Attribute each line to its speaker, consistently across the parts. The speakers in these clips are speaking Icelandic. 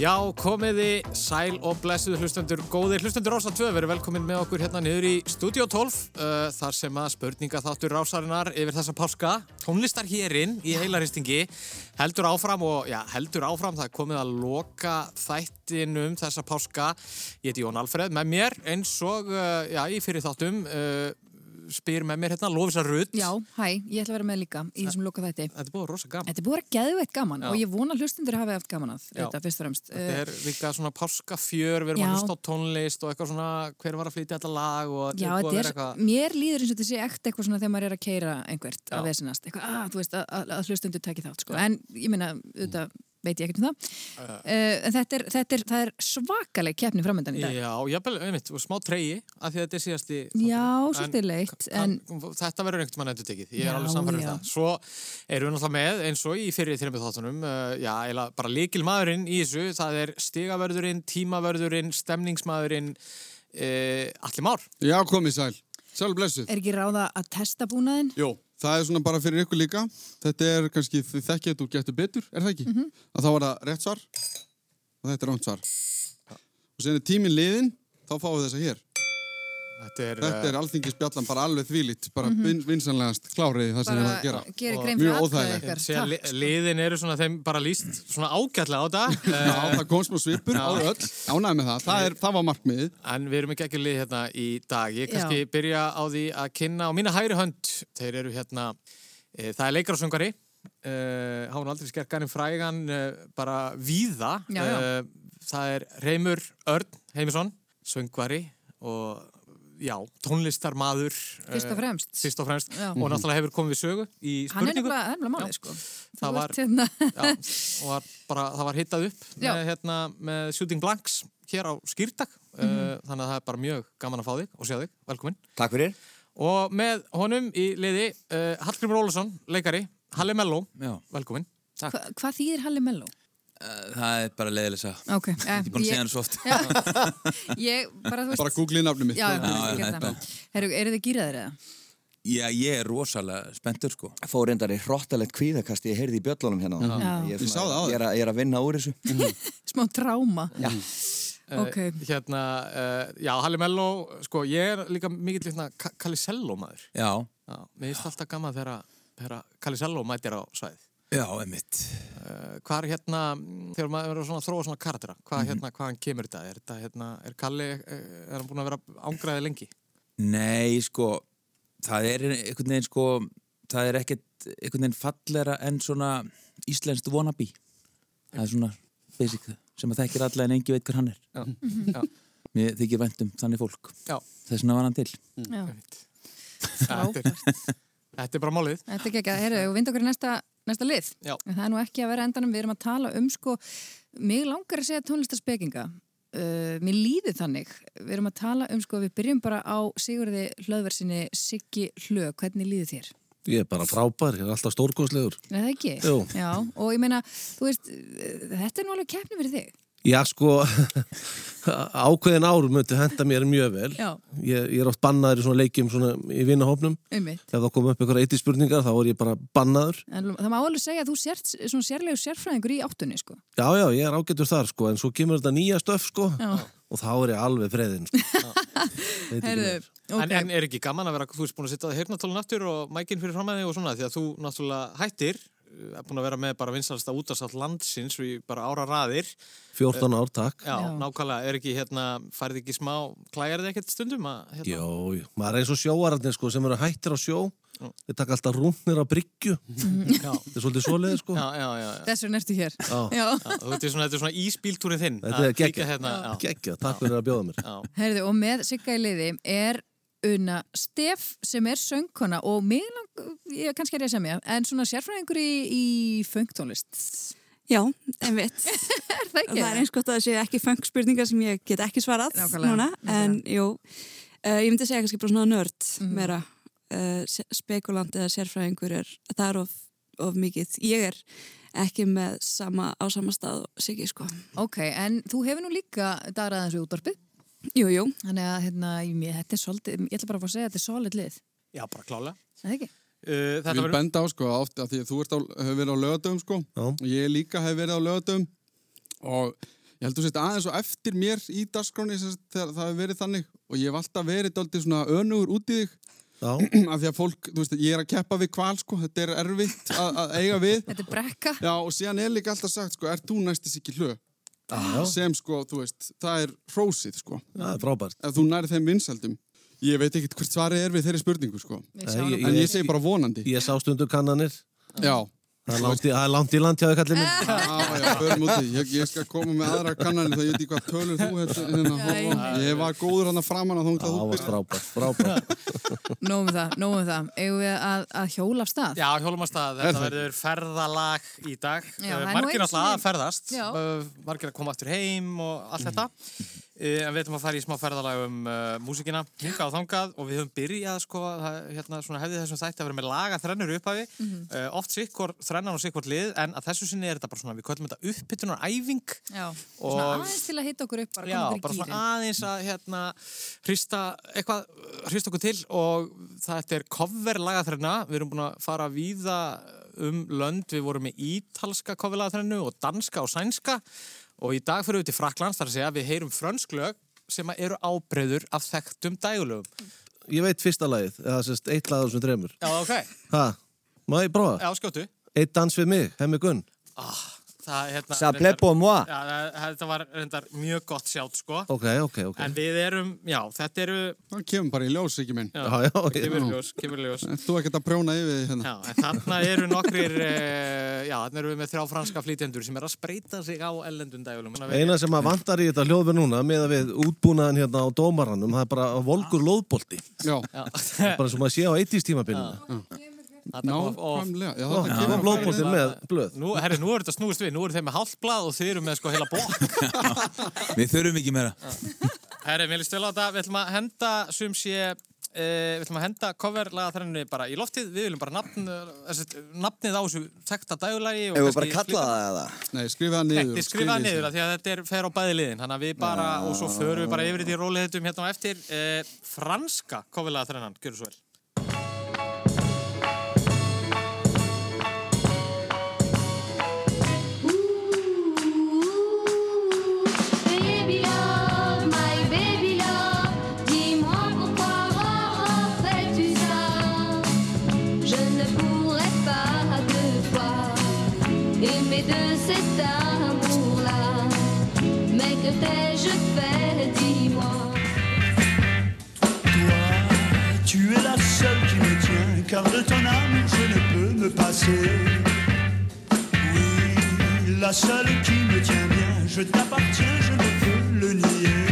Speaker 1: Já, komiði sæl og blessuð hlustendur, góðir hlustendur Rása 2 verið velkomin með okkur hérna niður í Studio 12 uh, þar sem að spurninga þáttur Rásarinnar yfir þessa páska tónlistar hérinn í heilaristingi heldur áfram og, já, heldur áfram það er komið að loka þættinum um þessa páska, ég heiti Jón Alfred með mér eins og, uh, já, í fyrir þáttum uh, spyr með mér hérna Lofisa Rutt
Speaker 2: Já, hæ, ég ætla að vera með líka í þessum loka þætti.
Speaker 1: Þetta er búið rosa gaman
Speaker 2: Þetta er búið að geðveitt gaman
Speaker 1: Já.
Speaker 2: og ég vona hlustendur hafi haft gaman að
Speaker 1: Já.
Speaker 2: þetta fyrst og fremst. Eh,
Speaker 1: Þetta er líka svona páskafjör, við erum
Speaker 2: Já.
Speaker 1: að hlusta á tónlist og eitthvað svona hver var að flytja þetta lag og
Speaker 2: Já,
Speaker 1: þetta er búið að
Speaker 2: þetta
Speaker 1: vera
Speaker 2: er,
Speaker 1: eitthvað
Speaker 2: mér líður eins og þetta sé ekkert eitthvað svona þegar maður er að keira einhvert
Speaker 1: Já.
Speaker 2: að vesinast. Eitthvað, að, þú veist, að, að- að hlustendur taki þátt, sko. En ég meina, auðvitað veit ég ekkert um það. Uh, en þetta er, þetta er, það er svakaleg keppni framöndan í dag.
Speaker 1: Já, jafnvel, einmitt, og smá tregi af því að þetta er síðasti
Speaker 2: Já,
Speaker 1: þátturinn.
Speaker 2: svolítið leitt, en
Speaker 1: kann- Þetta verður einhvern mann endur tekið, ég er
Speaker 2: Já,
Speaker 1: alveg samfærður um
Speaker 2: já.
Speaker 1: það Svo erum við náttúrulega með, eins og í fyrir þreymið þáttunum uh, Já, eila bara líkil maðurinn í þessu Það er stigavörðurinn, tímavörðurinn, stemningsmaðurinn uh, Allir már
Speaker 3: Já, komið sæl. Sæl blessuð.
Speaker 2: er ekki ráða að testa búnaðinn?
Speaker 3: Jó, það er svona bara fyrir ykkur líka. Þetta er kannski, þið þekkið þetta úr getur betur, er það ekki?
Speaker 2: Mhm.
Speaker 3: Að þá var það rétt svar og þetta er ránt svar. Og sen er tíminn liðin, þá fáum við þessa hér.
Speaker 1: Þetta er, eh,
Speaker 3: Þetta er alþingisbjallan bara alveg þvílitt, bara mm vinsanlegast kláriði það sem þið er að gera.
Speaker 2: Mhm. Bara Eh. gera grein fyrir
Speaker 3: Mjög
Speaker 2: atkvæði
Speaker 3: óþægilegt.
Speaker 2: ykkar.
Speaker 1: Sér,
Speaker 2: Takk. sko.
Speaker 1: li, liðin eru svona þeim bara líst svona ágætlega á þetta Eh,
Speaker 3: Já, það kom smá svipur á öll, ánægði með það, það, er, það var markmiðið.
Speaker 1: En við erum ekki ekki lið hérna í dag. Ég kannski
Speaker 2: Já.
Speaker 1: byrja á því að kynna á mína hægri hönd. Þeir eru hérna, e, það er leikarasöngari, e, hann aldrei skerkaninn frægan, e, bara víða.
Speaker 2: Já, já.
Speaker 1: E, það er Reymur Örn Heimisson, söngvari og já, tónlistarmadur.
Speaker 2: Fyrst og
Speaker 1: eh,
Speaker 2: fremst.
Speaker 1: Fyrst og fremst.
Speaker 2: Já. Mhm.
Speaker 1: Og náttúrulega hefur komið við sögu í
Speaker 2: Hann er
Speaker 1: spurningu.
Speaker 2: nefnilega nefnilega málið, sko.
Speaker 1: Það
Speaker 2: Þú
Speaker 1: var-
Speaker 2: ert hérna-
Speaker 1: Já, og var bara, það var hittað upp
Speaker 2: Já.
Speaker 1: með, hérna, með Shooting Blanks hér á Skýrtak uh,
Speaker 2: Mhm.
Speaker 1: þannig að það er bara mjög gaman að fá þig og sjá þig, velkomin
Speaker 4: Takk fyrir.
Speaker 1: og með honum í liði uh, Hallgrimur Ólason, leikari, Halli Melló
Speaker 4: Já. Eh,
Speaker 1: velkomin
Speaker 2: Hva, hvað þýðir Halli Mello?
Speaker 4: Það er bara leiðileg sá.
Speaker 2: Ok, eh,
Speaker 4: Ég er búin að segja hann svo oft. Já,
Speaker 2: ég bara, þú veist,
Speaker 3: Bara googlið nafnum mitt.
Speaker 2: já, já,
Speaker 4: Já,
Speaker 2: já,
Speaker 4: þetta.
Speaker 2: já, Heru, eru þið gýraðir eða?
Speaker 4: ég er rosalega spenntur sko.
Speaker 5: fór reyndar í hrottalegt kvíðakast ég heyrði í bjöllunum hérna
Speaker 2: Já.
Speaker 5: ég, er
Speaker 3: Ég sá það á
Speaker 5: ég, er að, ég er að vinna úr þessu
Speaker 2: Smá tráma. Já. Ok,
Speaker 1: hérna, uh, já, Halli Melló sko, ég er líka mikill hérna, Kalisello maður
Speaker 4: Já,
Speaker 1: já, mér finnst alltaf gaman þegar þegar Kalisello mætir á svæð
Speaker 4: já, emitt.
Speaker 1: uh, hvað er hérna, mm, þegar maður er svona að þróa svona kardra, hvað hérna, hvaðan kemur þetta? Er, þetta, hérna, er Kalli, eh, er hann búin að vera ángraði lengi?
Speaker 4: Nei, sko, það er einhvern veginn sko, það er ekkert einhvern veginn fallera en svona íslenskt wannabe. Það er svona basic sem að þekkir alla en engi veit hver hann er.
Speaker 1: Já, Mhm.
Speaker 2: Mhm.
Speaker 1: já,
Speaker 4: Mér þykir vænt um þannig fólk.
Speaker 1: já,
Speaker 4: Þess vegna var hann til.
Speaker 2: já,
Speaker 1: einmitt.
Speaker 2: frábært.
Speaker 1: Þetta er bara málið.
Speaker 2: Þetta er ekki að, heru, og vind okkur í næsta, næsta lið.
Speaker 1: Já.
Speaker 2: En það er nú ekki að vera endanum, við erum að tala um, sko, mig langar að segja tónlistarspekinga. Uh, mér líði þannig, við erum að tala um, sko, við byrjum bara á Sigurði Hlöðversinni Siggi Hlöð, hvernig líði þér?
Speaker 6: Ég er bara frábær, ég er alltaf stórkoslegur.
Speaker 2: Er það ekki?
Speaker 6: Jú.
Speaker 2: Já, og ég meina, þú veist, eh, þetta er nú alveg keppni fyrir þig.
Speaker 6: Já, sko, ákveðin ár möttu henda mér mjög vel.
Speaker 2: Já.
Speaker 6: Ég, ég er oft bannaður í svona leikjum svona í vinahópnum.
Speaker 2: Einmitt.
Speaker 6: Ef það kom upp einhverja eitthi spurningar, þá voru ég bara bannaður.
Speaker 2: En það má alveg segja að þú sért svona sérlegu sérfræðingur í áttunni, sko.
Speaker 6: Já, já, ég er ágætur þar, sko, en svo kemur þetta nýja stöf, sko,
Speaker 2: Já.
Speaker 6: og þá er ég alveg freðin, sko. Veit ekki meir.
Speaker 2: ok.
Speaker 1: En, en er ekki gaman að vera, þú ert búin að setja það heyrnatólun aftur og mækinn fyrir framæði og svona, því að þú náttúrulega hættir, eh, er búin að vera með bara vinsalasta útasátt landsins og í bara ára raðir.
Speaker 6: 14 ár, takk.
Speaker 1: Já,
Speaker 2: Já.
Speaker 1: nákvæmlega, er ekki hérna, færði ekki smá, klæjar þið ekkert stundum að hérna?
Speaker 6: Jó, jó. maður er eins og sjóararnir, sko, sem eru hættir á sjó. Þeir taka alltaf rúnir á bryggju.
Speaker 1: Já,
Speaker 6: Þetta er svolítið svoleiði, sko.
Speaker 1: já, já, já. já.
Speaker 2: Þess vegna ertu hér.
Speaker 6: Já.
Speaker 2: Já.
Speaker 1: Já, þú veitir svona, þetta er svona íspíltúrin þinn
Speaker 6: Þetta
Speaker 1: að
Speaker 6: er
Speaker 1: kíkja
Speaker 6: geggjað.
Speaker 1: hérna, já.
Speaker 6: Gekkja, takk fyrir að bjóða mér.
Speaker 1: Já.
Speaker 2: Herðu, og með Sigga í liði er Una Steff sem er söngkona og mig lang, ég, kannski er ég að semja, en svona sérfræðingur í, í fengtónlist.
Speaker 7: Já, einmitt.
Speaker 2: Er það ekki?
Speaker 7: það er eins gott að það séu ekki fang spurningar sem ég get ekki svarað
Speaker 2: Nákvæmlega,
Speaker 7: núna.
Speaker 2: nákvæmlega. Mhm.
Speaker 7: En jú, uh, ég myndi segja kannski bara svona nörd meira uh, se- spekulant eða sérfræðingur er, það er of, of mikið. Ég er ekki með sama, á sama stað og Siggi sko.
Speaker 2: Ok, en þú hefur nú líka darað þessu útvarpið.
Speaker 7: Jú, jú,
Speaker 2: Þannig að hérna, ég, mér- þetta er svolítið, ég ætla bara að fá að segja að þetta er solid lið.
Speaker 1: Já, bara klálega.
Speaker 2: Er Það ekki?
Speaker 1: Uh,
Speaker 3: Ég
Speaker 1: þetta
Speaker 3: vil
Speaker 1: verður...
Speaker 3: benda á sko oft að því að þú ert á, hefur verið á lögadöfum sko
Speaker 6: Já.
Speaker 3: og ég líka hef verið á lögadöfum og Ég heldur sérst aðeins og eftir mér í dagskráni sérst, þegar það hefur verið þannig og ég hef alltaf verið daldið svona önugur út í þig
Speaker 6: Já,
Speaker 3: af því að fólk, þú veist, ég er að keppa við kval sko, þetta er erfitt að, að eiga við
Speaker 2: Þetta er brekka.
Speaker 3: Já, og síðan er líka alltaf sagt sko, er þú næstis ekki hlö
Speaker 6: já,
Speaker 3: sem sko, þú veist, það er hrósið sko,
Speaker 6: það er frábært.
Speaker 3: ef þú nærið þeim vinsældum Ég veit ekkert hvert svarið er við þeirri spurningu sko,
Speaker 2: Við sjáum nú
Speaker 6: Nei, ég-
Speaker 3: en
Speaker 2: bara.
Speaker 3: ég segi bara vonandi
Speaker 6: Ég sá stundu kannanir.
Speaker 3: Já,
Speaker 6: Það er langt í, það er langt í land hjá þau kallinu.
Speaker 3: já, já, förum út í því. ég, ég skal koma með aðra kannanir þá ég veit ekki hvað tölur þú hérna, hérna, hérna, Ég var góður hann að framan að þá
Speaker 6: Það
Speaker 3: þú
Speaker 6: var frábært, frábært.
Speaker 2: Nóum það, nóum það. Eigum við að, að hjóla af stað?
Speaker 1: Já, hjólum að stað, þetta verður ferðalag í dag.
Speaker 2: Já,
Speaker 1: Eh,
Speaker 2: það er nú
Speaker 1: margir
Speaker 2: einu
Speaker 1: alltaf að
Speaker 2: sinni.
Speaker 1: ferðast,
Speaker 2: Já.
Speaker 1: eh, margir að koma aftur heim og allt þetta.
Speaker 6: Mhm.
Speaker 1: Eh, En við ætlum að fara í smá ferðalag um uh, músikina, hingað og þangað og við höfum byrjað, sko, það- hérna, svona hefði þessum þætti að vera með laga þrennur upphafi. Mm
Speaker 2: Mhm.
Speaker 1: oft sikkor þrennan og sikkor lið, en að þessu sinni er þetta bara svona, við köllum þetta uppbytunaræfing.
Speaker 2: Já,
Speaker 1: Og-
Speaker 2: svona aðeins til að hitta okkur upp bara,
Speaker 1: Já,
Speaker 2: koma
Speaker 1: bara
Speaker 2: okkur í Mm.
Speaker 1: svona
Speaker 2: gýrin.
Speaker 1: aðeins að hérna hrista eitthvað, hrista okkur til og þetta er cover lagaþrenna við erum búin að fara víða um lönd, við vorum með ítalska cover lagaþrennu og danska og sænska og í dag fyrir við til Fraklands þar að segja að við heyrum frönsklög sem að eru ábreyður af þekktum dægulögum.
Speaker 6: Ég veit fyrsta lagið, eða sérst eitt lag af þessum þremur.
Speaker 1: Já, ok.
Speaker 6: Ha, má ég prófa?
Speaker 1: Já, skjótu.
Speaker 6: Eitt dans við mig, hemmi Gunn.
Speaker 1: Ah, það, er hérna,
Speaker 5: Ça plaît pour moi.
Speaker 1: Já, það- þetta var reyndar mjög gott sjátt, sko.
Speaker 6: Ok, ok, ok.
Speaker 1: En við erum, já, þetta eru...
Speaker 3: Það kemur bara í ljós, ekki minn
Speaker 1: Já,
Speaker 6: Já, já,
Speaker 1: það
Speaker 6: já.
Speaker 1: kemur í ljós, kemur í ljós.
Speaker 3: En Þú ekkert að prjóna yfir því hérna
Speaker 1: Já, en þarna eru nokkrir, uh, já, þarna eru við með þrjá franska flytjendur sem er að spreita sig á ellendum dægulum.
Speaker 6: Eina sem að vantar í þetta hljóðverð núna með að við útbúnaðan hérna á dómaranum það er bara volgur lóðbolti
Speaker 3: Já,
Speaker 1: Já,
Speaker 6: bara sem að sé á 80s tímabilinu
Speaker 1: þarna kom og...
Speaker 3: nákvæmlega Já, þetta
Speaker 6: það var
Speaker 3: kemur bara í ljós
Speaker 6: lóðbolti með blöð
Speaker 1: Nú, herri, nú er þetta snúist við, nú eru þeir með hálft blað og þeir eru með sko heila blokk.
Speaker 4: Við þurfum ekki meira.
Speaker 1: Herri, mér líst vel á þetta, við ætlum að henda sum sé, uh, við ætlum að henda coverlaga þrenninni bara í loftið, við viljum bara nafn, þessi, nafnið á þessu tekta dægulagi.
Speaker 5: Ef við bara kalla það eða
Speaker 3: Nei, skrifa það niður
Speaker 1: Þetta
Speaker 3: og
Speaker 1: er skrifað
Speaker 3: skrifið
Speaker 1: niður af því að þetta er fer á bæði liðin þannig að við bara, og svo förum við bara yfir þetta í rólið þetta um hérna á eftir eh, franska kofilega þrennan, gjörðu svo vel
Speaker 8: Baby love, my baby love, dis-moi pourquoi fais-tu ça Je ne pourrais pas de toi aimer de cet amour-là. Mais que t'ai-je fait, dis-moi
Speaker 9: Tu es la seule qui me tient, car de ton âme je ne peux me passer. Oui, la seule qui me tient bien, je t'appartiens, je ne peux le nier.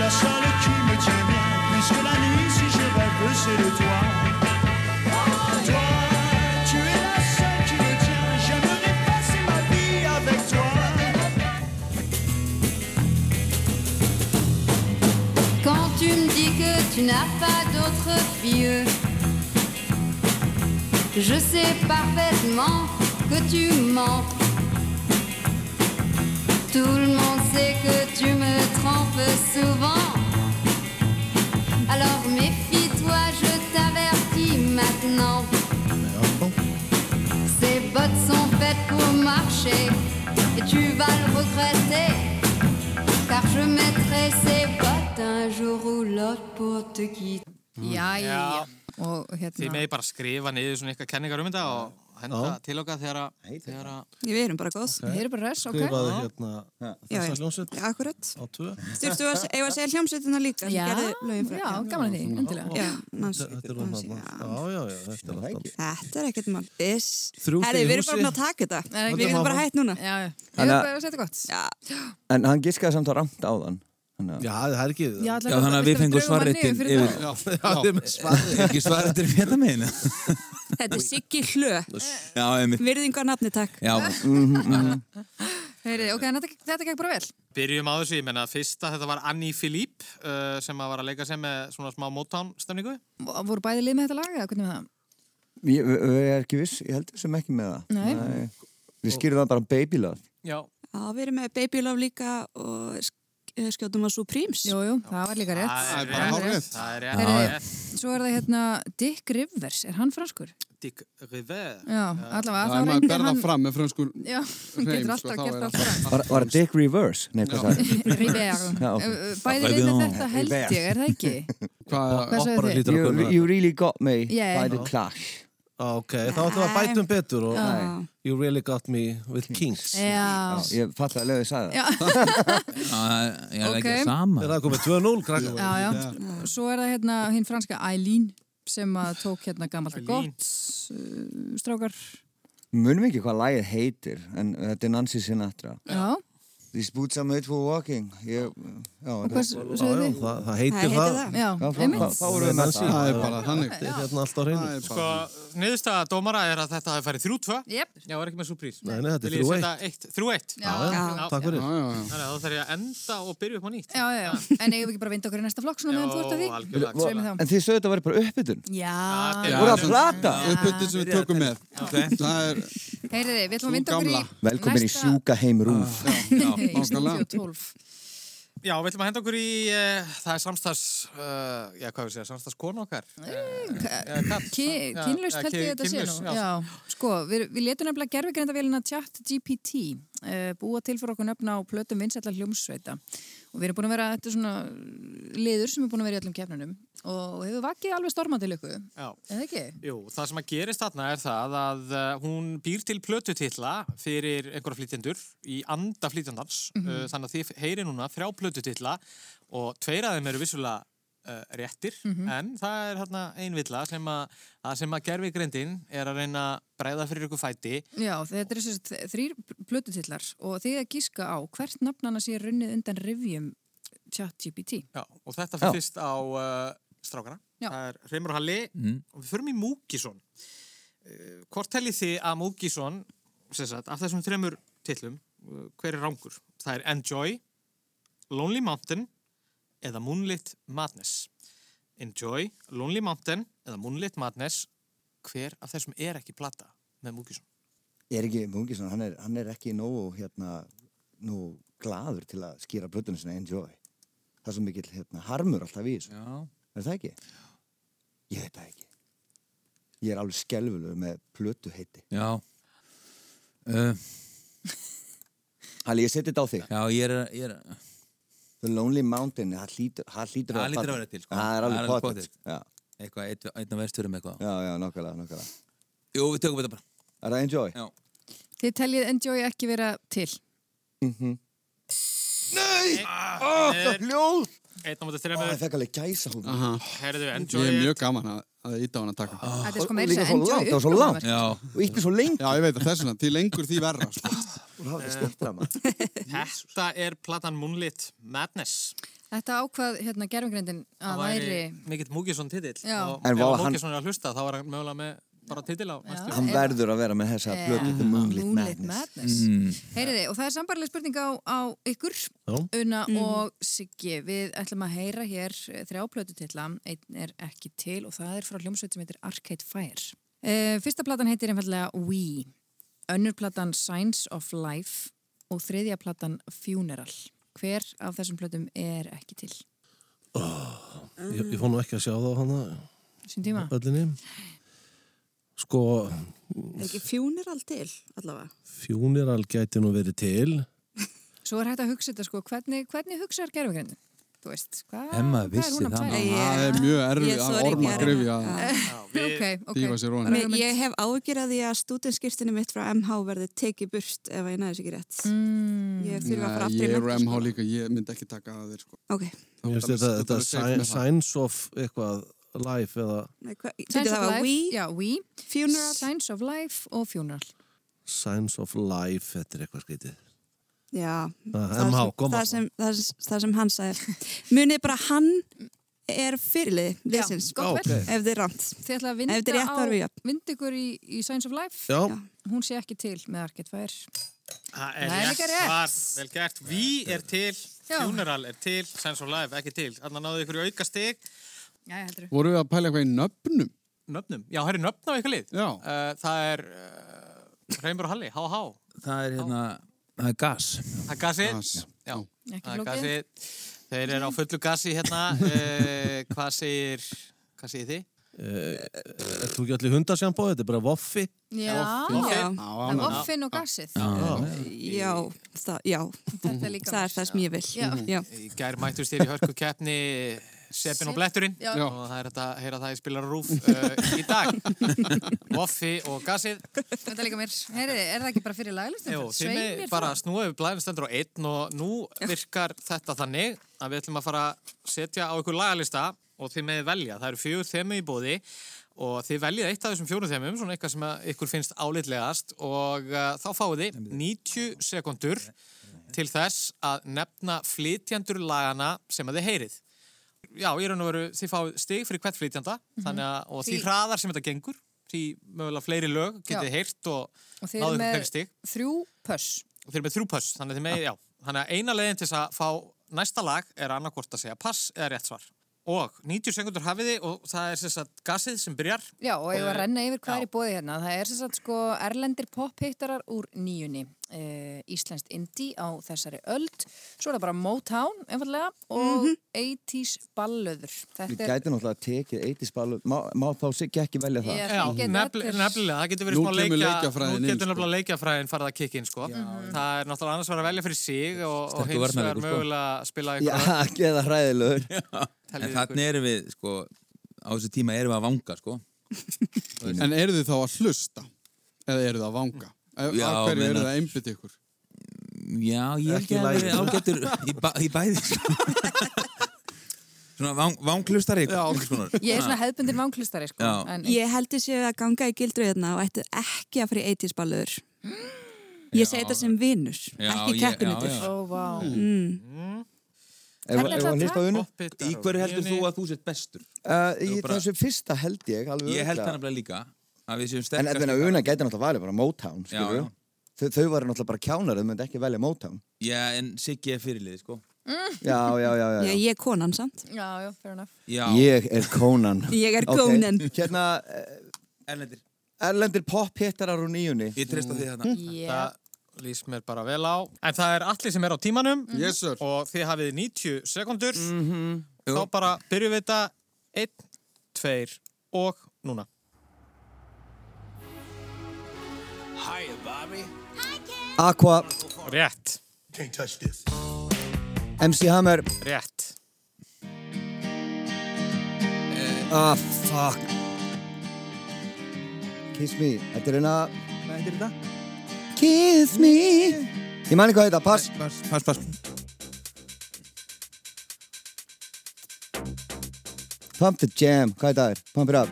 Speaker 9: La seule qui me tient bien, puisque la nuit si je rêve c'est de toi. Toi, tu es la seule qui me tient, j'aimerais passer ma vie avec toi.
Speaker 8: Quand tu me dis que tu n'as pas d'autre fille, je sais parfaitement que tu mens. Tout le monde sait que tu me trompes souvent. Alors méfie-toi, je t'avertis maintenant. Ces bottes sont faites pour marcher et tu vas le regretter car je mettrai ces bottes un jour ou l'autre pour te quitter.
Speaker 1: Já.
Speaker 2: Jæja, og
Speaker 1: Þið
Speaker 2: hérna,
Speaker 1: megi bara skrifa niður svona eitthvað kenningar um þetta og henda til okkar þegar að, þegar að
Speaker 7: Við erum bara góð.
Speaker 2: þeir eru bara res, ok?
Speaker 6: skrifaði hérna
Speaker 7: Já, já.
Speaker 6: þessa hljómsveit
Speaker 7: Akkurat.
Speaker 6: á tvö
Speaker 7: Þurftu að, eigum við að segja hljómsveitina líka? sem
Speaker 2: Já,
Speaker 7: gerði lögin frá-
Speaker 2: já, gaman að því, endilega.
Speaker 7: Já, Nancy,
Speaker 6: þetta er hún
Speaker 7: Nancy,
Speaker 6: hérna
Speaker 7: já.
Speaker 6: já, já, já, þetta er alltaf
Speaker 7: Þetta er ekkert mál. Iss.
Speaker 6: Þrjú
Speaker 7: Herri,
Speaker 6: stig í
Speaker 7: við erum bara
Speaker 6: húsi.
Speaker 7: búin að taka þetta.
Speaker 2: Nei,
Speaker 7: Við erum bara hætt núna.
Speaker 2: Já, já. Ég
Speaker 5: Þannig
Speaker 2: er
Speaker 5: að-
Speaker 2: bara að setja gott.
Speaker 7: Já.
Speaker 5: En hann giskaði samt á rangt áðan Þannig að
Speaker 6: já, það er ekki
Speaker 2: Já,
Speaker 6: já,
Speaker 2: ætla-
Speaker 4: Já, þannig að við
Speaker 2: ætla
Speaker 4: fengum
Speaker 2: drögum hann niður
Speaker 4: svarréttin
Speaker 2: fyrir
Speaker 4: yfir.
Speaker 2: það.
Speaker 6: það er með svarið
Speaker 4: Ekki svara til hérna megin.
Speaker 7: Þetta er Siggi Hlö.
Speaker 4: Já, einmitt.
Speaker 7: Virðingu á nafni, takk.
Speaker 4: Já,
Speaker 2: Heyrið, ok, en þetta, þetta gekk bara vel.
Speaker 1: byrjum á þessu, ég menna fyrsta þetta var Annie Philippe uh, sem að var að leika sem með svona smá Motown stemningu
Speaker 2: V- Voru bæði lið með þetta lag eða hvernig með það?
Speaker 5: ég, við- við erum ekki viss, ég held sem ekki með það
Speaker 2: Nei.
Speaker 5: Við skýrum það bara um baby love
Speaker 1: Já,
Speaker 7: Já, við erum með Baby Love líka og sk- eh, skjótum að Supremes
Speaker 2: Jú, jú, það var líka rétt.
Speaker 1: Það er
Speaker 3: bara
Speaker 2: Það
Speaker 3: hárrétt.
Speaker 1: Það er
Speaker 2: Heyrðu,
Speaker 1: rétt.
Speaker 2: Svo er það hérna Dick Rivers, er hann franskur?
Speaker 1: Dick River.
Speaker 2: Já, allavega,
Speaker 3: Það
Speaker 2: þá
Speaker 3: er maður að
Speaker 2: reyndi
Speaker 3: berða
Speaker 2: hann...
Speaker 3: fram með frönskur
Speaker 2: Já, hann
Speaker 3: hreim,
Speaker 2: getur
Speaker 3: sko,
Speaker 2: alltaf
Speaker 3: þá
Speaker 2: gert
Speaker 3: er
Speaker 2: allt fram.
Speaker 5: Var, var Dick Reverse? Nei, hvað það?
Speaker 2: Rivers.
Speaker 5: Já.
Speaker 2: Bæði liðinu þetta held ég, er það ekki?
Speaker 3: Hvað,
Speaker 2: Hvað
Speaker 6: Bara
Speaker 2: sagði þið?
Speaker 6: lítur að
Speaker 5: You,
Speaker 6: kunna
Speaker 5: you really got me
Speaker 2: Yeah.
Speaker 5: by the clash.
Speaker 6: þetta. Ok, þá ætlum við að bætum betur og
Speaker 2: Ah.
Speaker 5: Nei.
Speaker 6: You really got me with Kings. Er
Speaker 2: Já,
Speaker 5: Já, ég fallaði að lögðu sagði það.
Speaker 4: Já, ég er ekki
Speaker 2: Ok.
Speaker 4: að sama
Speaker 6: það komið 2-0, krakkum?
Speaker 2: já, já. Svo er það hérna hinn franska Eileen sem að tók hérna gammalt og
Speaker 1: Eileen.
Speaker 2: gott uh, strákar.
Speaker 5: Munum ekki hvað lagið heitir, en þetta er Nancy Sinatra.
Speaker 2: Já,
Speaker 5: These boots are made for walking. Ég, já,
Speaker 2: og hvað
Speaker 6: Já,
Speaker 2: segir
Speaker 6: já,
Speaker 2: þið?
Speaker 6: það, það
Speaker 7: Það
Speaker 6: heitir
Speaker 7: heitir
Speaker 6: það.
Speaker 7: það
Speaker 2: Já,
Speaker 5: Já, þá-
Speaker 2: einmitt.
Speaker 5: þá- þá vorum við með
Speaker 6: Nancy.
Speaker 5: það.
Speaker 3: það er bara þannig.
Speaker 6: Þetta er hérna allt á
Speaker 3: Það
Speaker 6: hreinu.
Speaker 3: er
Speaker 1: Sko,
Speaker 3: bara,
Speaker 1: niðurstaða dómara er að þetta hafi farið 3-2.
Speaker 2: Jep,
Speaker 1: Já, var ekki með súprís.
Speaker 6: Nei, nei, þetta er
Speaker 1: 3-1. 3-1.
Speaker 2: já,
Speaker 6: Já,
Speaker 2: já.
Speaker 7: já.
Speaker 6: Takk fyrir.
Speaker 3: já, já, já.
Speaker 1: Þannig að þá þarf ég að enda og byrja upp á nýtt.
Speaker 2: Já, já, já. En eigum við ekki bara að vinda okkur í næsta flokk svona meðan þú ert að því?
Speaker 1: algjörlega.
Speaker 2: Sveið mér
Speaker 1: algjörlega.
Speaker 2: þá.
Speaker 5: En þið sögðu þetta var bara uppbytun.
Speaker 2: Já,
Speaker 1: Já,
Speaker 5: Voru að plata.
Speaker 3: Uppbyttin sem við tökum með. Það er,
Speaker 2: heyriði, við ætlum að
Speaker 3: Sú
Speaker 2: vinda okkur í
Speaker 3: gamla.
Speaker 5: Velkomin í sjúka heim
Speaker 2: í
Speaker 5: rúf.
Speaker 3: nákvæmlega.
Speaker 2: 12.
Speaker 1: Já, við ætlum að henda okkur í, uh, það er samstags, uh, já, hvað við segja, samstags konu okkar. Eh,
Speaker 2: Kynlust held ég þetta sé nú. Já, sko, við, við letum nefnilega gerfigrindavélina chat GPT uh, búa til fyrir okkur nöfna á plötum vinsætla hljómsveita. Og við erum búin að vera, þetta er svona liður sem er búin að vera í öllum kefnunum og hefur vakið alveg stormandi lökku,
Speaker 1: Já.
Speaker 2: eða ekki?
Speaker 1: Jú, það sem að gerist þarna er það að uh, hún býr til plötutitla fyrir einhverja flytjendur í anda flytjandans
Speaker 2: Mhm.
Speaker 1: uh, þannig að þið heyri núna þrjá plötutitla og tveir af þeim eru vissulega uh, réttir
Speaker 2: Mhm.
Speaker 1: en það er hérna ein villa sem að, að sem að gerfi grindin er að reyna að bræða fyrir ykkur fæti
Speaker 2: Já, þetta er þess að þrýr plötutillar og þið að gíska á hvert nafnana sé runnið undan rivjum chat GPT.
Speaker 1: Já, og þetta
Speaker 5: Já.
Speaker 1: fyrir fyrst á uh, strákana.
Speaker 2: Já.
Speaker 1: Það er Hreimur og Halli
Speaker 3: Mhm.
Speaker 1: og við förum í Múkisson. Uh, hvort teljið þið að Múkisson, sem sagt, af þessum þremur titlum, uh, hver er rángur? Það er Enjoy, Lonely Mountain eða Moonlit Madness. Enjoy, Lonely Mountain eða Moonlit Madness, hver af þessum er ekki plata með Múkisson?
Speaker 5: Er ekki Mungisson, hann er, hann er ekki nógu, hérna, nú glaður til að skýra plötunum sinna enjoy. Það er svo mikill, hérna, harmur alltaf í þessu.
Speaker 4: Já.
Speaker 5: Er það ekki? Ég veit það ekki. Ég er alveg skelvulur með plötu heiti.
Speaker 4: Já Uh,
Speaker 5: Halli, ég seti þetta á þig.
Speaker 4: já, ég er, ég er
Speaker 5: The Lonely Mountain, það hlýtur, það hlýtur
Speaker 4: Það hlýtur að
Speaker 5: pottþétt.
Speaker 4: vera til, sko.
Speaker 5: Það er
Speaker 4: Það er
Speaker 5: alveg
Speaker 4: alveg
Speaker 5: pottet. Já,
Speaker 4: eitthvað, einn- einn af vesturum eitthvað
Speaker 5: já, já, nokkulega, nokkulega.
Speaker 4: Jú, við tökum þetta bara
Speaker 5: Er það enjoy?
Speaker 4: Já.
Speaker 2: Þið teljið Enjoy ekki vera til.
Speaker 1: Er
Speaker 5: Ljóð!
Speaker 1: einn á mútið
Speaker 5: Ó, ég
Speaker 1: þremur,
Speaker 5: fekk alveg gæsa hún.
Speaker 3: Aha.
Speaker 1: herðu
Speaker 3: Ég
Speaker 1: Enjoy.
Speaker 3: er
Speaker 1: er-
Speaker 3: mjög gaman að, að íta á hann að taka.
Speaker 2: Þetta er
Speaker 5: og-
Speaker 2: sko meira
Speaker 5: og Ah,
Speaker 2: þess að
Speaker 5: líka svo langt,
Speaker 2: Enjoy
Speaker 5: það var svo
Speaker 2: upprunaverk.
Speaker 4: Já,
Speaker 5: Og ítti svo lengi.
Speaker 3: Já, ég veit að þess vegna, því lengur því verra. Sko.
Speaker 5: Þú hafði styrtað maður.
Speaker 1: Þetta er platan Moonlit Madness.
Speaker 2: Þetta ákvað hérna gerfingrindin að
Speaker 1: það væri
Speaker 2: væri
Speaker 1: mikill Múkisson titill
Speaker 2: Já.
Speaker 1: og
Speaker 5: En
Speaker 1: ef
Speaker 5: vá, hann-
Speaker 1: Múkisson er að hlusta þá er hann mögulega með bara titill á næstu
Speaker 5: Hann verður að vera með þessa plötu The Moonlit Madness.
Speaker 2: Eh, Madness.
Speaker 4: Mm.
Speaker 2: Heyriði, og það er sambarleg spurning á, á ykkur,
Speaker 6: Já.
Speaker 2: Una og Siggi. Við ætlum að heyra hér eh, þrjá plötutitla, einn er ekki til og það er frá hljómsveit sem heitir Arcade Fire. Uh, fyrsta platan heitir einfallega We, önnur platan Signs of Life og þriðja platan Funeral. Hver af þessum plötum er ekki til?
Speaker 6: Ég, ég fór nú ekki að sjá það á hana,
Speaker 2: Sýn tíma?
Speaker 6: öllinni. Sko,
Speaker 7: Er ekki fjúnir all til allavega?
Speaker 6: funeral gæti nú verið til.
Speaker 2: Svo er hægt að hugsa þetta sko, hvernig, hvernig hugsaður gerfingrindin? Þú veist, hvað
Speaker 4: Emma
Speaker 2: hvað er
Speaker 4: vissi
Speaker 2: hún að
Speaker 4: það,
Speaker 2: pæla?
Speaker 4: maður.
Speaker 3: Það er mjög erfið
Speaker 7: Ég
Speaker 3: að
Speaker 7: þori ekki
Speaker 3: orma
Speaker 7: að-
Speaker 3: grifja
Speaker 2: Ok, ok.
Speaker 3: dýfa sér ofan.
Speaker 7: Mér, ég hef ágjur að því að stúdinskirtinu mitt frá MH verði tekið burt ef að ég næði sér ekki rétt. Mm. Ég þurfa að
Speaker 3: Nei,
Speaker 7: fara aftur
Speaker 3: Ég er
Speaker 7: menntaskóla.
Speaker 3: MH líka, ég myndi ekki taka að þér. Sko.
Speaker 7: Ok,
Speaker 6: Ég veist þetta, þetta sign- signs of eitthvað life eða
Speaker 7: Nei, hva,
Speaker 2: Signs
Speaker 7: Signs
Speaker 2: of Life,
Speaker 7: We,
Speaker 2: já, We,
Speaker 7: Funeral,
Speaker 2: Signs of Life og Funeral.
Speaker 6: signs of life, þetta er eitthvað skytið.
Speaker 7: já,
Speaker 6: Ah,
Speaker 7: það,
Speaker 6: MH,
Speaker 7: sem,
Speaker 6: koma.
Speaker 7: það, sem, það, sem, það sem hann sagði. Munið bara hann er fyrirlið, liðsins,
Speaker 2: gott
Speaker 6: ok.
Speaker 2: verð.
Speaker 7: ef þið er rámt.
Speaker 2: Þið ætla að
Speaker 7: Ef þetta er
Speaker 2: vinda
Speaker 7: rétt, þá erum
Speaker 2: á
Speaker 7: við jöfn.
Speaker 2: vindigur í, í Signs of Life.
Speaker 6: Já,
Speaker 2: Hún sé ekki til með Arket Fær.
Speaker 1: Það
Speaker 2: Það er
Speaker 1: er
Speaker 2: líka
Speaker 1: rétt
Speaker 2: rétt.
Speaker 1: svar, vel gert Ví er til,
Speaker 2: Já.
Speaker 1: Funeral er til Sense of Life ekki til, þannig að náðu ykkur í auka stig
Speaker 2: Já, ég heldur.
Speaker 3: Voru við að pæla eitthvað í nöfnum?
Speaker 1: Nöfnum, já, það er nöfn á ykkur lið
Speaker 3: Já.
Speaker 1: Eh, Það er uh, Reymur og Halli, há há
Speaker 4: það er hérna, það er gas
Speaker 1: Það er gasið,
Speaker 3: Gas.
Speaker 1: já, Já,
Speaker 2: Ekki
Speaker 1: það er
Speaker 2: flókið.
Speaker 1: gasið. Þeir eru á fullu gasi hérna. Eh, hvað segir, hvað segir þið?
Speaker 6: Ert þú ekki allir hundasjambó? Þetta er bara voffi.
Speaker 1: Voffi.
Speaker 2: Já, já.
Speaker 3: Já,
Speaker 2: Það er
Speaker 3: annað.
Speaker 2: voffin og gassið.
Speaker 7: Já, það, já,
Speaker 2: Þetta er líka
Speaker 7: það er það sem ég vil.
Speaker 2: Já.
Speaker 7: Mhm. Já.
Speaker 1: Í gær mættust þér í hörku keppni Seppin og Bletturinn
Speaker 2: Já.
Speaker 1: og það er þetta að heyra það í spilar rúf uh, í dag. Voffi og gasið.
Speaker 2: Þetta er líka mér. Heyriði, er það ekki bara fyrir laglistum?
Speaker 1: Jú, þið með bara snúa yfir blæðinu stendur á einn og nú virkar þetta þannig að við ætlum að fara að setja á ykkur lagalista og þið með velja. Það eru fjögur þemu í bóði og þið veljið eitt af þessum fjórum þemum, svona eitthvað sem að ykkur finnst álitlegast og uh, þá fáið þið 90 sekundur til þess að nefna flytjendur lagana sem að þið heyrið. Já, í raun og veru þið fáið stig fyrir hvert flytjanda þannig að, og því
Speaker 2: Mhm. Því-
Speaker 1: hraðar sem þetta gengur, því mögulega fleiri lög getið
Speaker 2: Já.
Speaker 1: heyrt og
Speaker 2: Og þið
Speaker 1: náðu
Speaker 2: eru
Speaker 1: ykkur
Speaker 2: með
Speaker 1: fleiri stig
Speaker 2: þrjú pöss.
Speaker 1: og þeir eru með þrjú pöss, þannig að þeir með, já. Þannig að eina leiðin til þess að fá næsta lag er annarkvort að segja pass eða rétt svar. Og 90 sekundur hafiði og það er þess að gasið sem byrjar.
Speaker 2: Já, og ég var
Speaker 1: Eh,
Speaker 2: að renna yfir hvað
Speaker 1: já.
Speaker 2: er í bóði hérna. Það er sem sagt sko erlendir pophittarar úr nýjunni. Uh, Íslenskt indie á þessari öld. Svo er það bara Motown, einfallega, og
Speaker 7: Mhm.
Speaker 2: 80s ballöður.
Speaker 5: Við
Speaker 2: Þetta er...
Speaker 5: gætum náttúrulega að tekið eitisballu, má, má þá Siggi ekki velja það?
Speaker 2: Ég-
Speaker 1: Já,
Speaker 2: Ég get
Speaker 1: nefn-
Speaker 2: allir-
Speaker 1: nefnilega, það getur verið
Speaker 3: Nú
Speaker 1: smá
Speaker 3: kemur
Speaker 1: leikja,
Speaker 3: leikjafræðin
Speaker 1: nú
Speaker 3: inn,
Speaker 1: getur
Speaker 3: sko.
Speaker 1: nefnilega leikjafræðin farið að kikka inn, sko. Það er náttúrulega annars verið að velja fyrir sig og, og
Speaker 4: Sterkur
Speaker 1: hins vegar
Speaker 4: varnarleikur, sko.
Speaker 1: mögulega að spila
Speaker 5: Já,
Speaker 1: eitthvað
Speaker 5: geða hræðilegur.
Speaker 4: En
Speaker 1: teljið ykkur.
Speaker 4: þannig erum við, sko, á þessu tíma erum við að vanga, sko.
Speaker 3: En eru þið þá að hlusta? Eða eru þið að vanga? Af
Speaker 4: Já,
Speaker 3: af hverju eru
Speaker 4: meinar-
Speaker 3: þið að einbytta ykkur?
Speaker 4: Já, ég
Speaker 6: Ekki
Speaker 4: ekki að
Speaker 6: lagi.
Speaker 4: vera ágættur í, ba í bæði, sko. Svona vang, vanglustari,
Speaker 3: Já.
Speaker 4: svona.
Speaker 2: Ég er svona hefðbundin vanglistari, sko.
Speaker 4: Ah. Já.
Speaker 2: En,
Speaker 7: Ég held þessi að ganga í gildru hérna og ætti ekki að fara í 80s ballur. Ég segi þetta sem vinnur,
Speaker 4: Já,
Speaker 7: ekki
Speaker 4: ég-
Speaker 7: keppinutur.
Speaker 4: já, já.
Speaker 2: Ó, vá.
Speaker 5: Ef
Speaker 2: Hann
Speaker 5: ef
Speaker 2: ætlaði
Speaker 5: hann
Speaker 2: að
Speaker 5: hlusta á unnu?
Speaker 1: Popphitar
Speaker 4: Í
Speaker 1: og
Speaker 4: hverju heldur þú
Speaker 1: nýjunni.
Speaker 4: að þú sett bestur?
Speaker 5: Uh, í
Speaker 4: Jú, bara-
Speaker 5: þessu fyrsta held ég, alveg
Speaker 4: Ég held
Speaker 5: örugglega.
Speaker 4: það nefnilega líka að við séum
Speaker 5: En
Speaker 4: sterkast.
Speaker 5: þetta unna gæti náttúrulega valið bara Motown,
Speaker 4: Já,
Speaker 5: skilju.
Speaker 4: já.
Speaker 5: Þau, þau varu náttúrulega bara kjánar, þau myndi ekki velja Motown.
Speaker 4: Já, en Siggi er fyrirlið, sko.
Speaker 5: Já, já, já, já. já.
Speaker 7: Ég, ég er konan samt.
Speaker 2: Já, já, fair enough.
Speaker 4: Já,
Speaker 5: Ég er Conan.
Speaker 7: Ég er
Speaker 5: Ok,
Speaker 7: Conan.
Speaker 5: Hérna, eh,
Speaker 4: erlendir.
Speaker 5: erlendir pophittarar úr nýjunni.
Speaker 4: Ég treysta því þarna.
Speaker 2: Yeah.
Speaker 1: Það lýst mér bara vel á. En það er allir sem er á tímanum.
Speaker 3: Yes, sir.
Speaker 1: og þið hafið 90 sekundur þá bara byrjum við þetta 1, 2 og núna
Speaker 5: Aqua,
Speaker 1: rétt,
Speaker 5: MC Hammer.
Speaker 1: rétt
Speaker 5: Ah, fuck. Kiss me. Þetta er hérna...
Speaker 4: Hvað heitir þetta?
Speaker 5: Kiss me. Ég man ekki hvað þetta, pass.
Speaker 4: Pass, pass, pass.
Speaker 5: Pump the jam, hvað þetta er? Pump it up.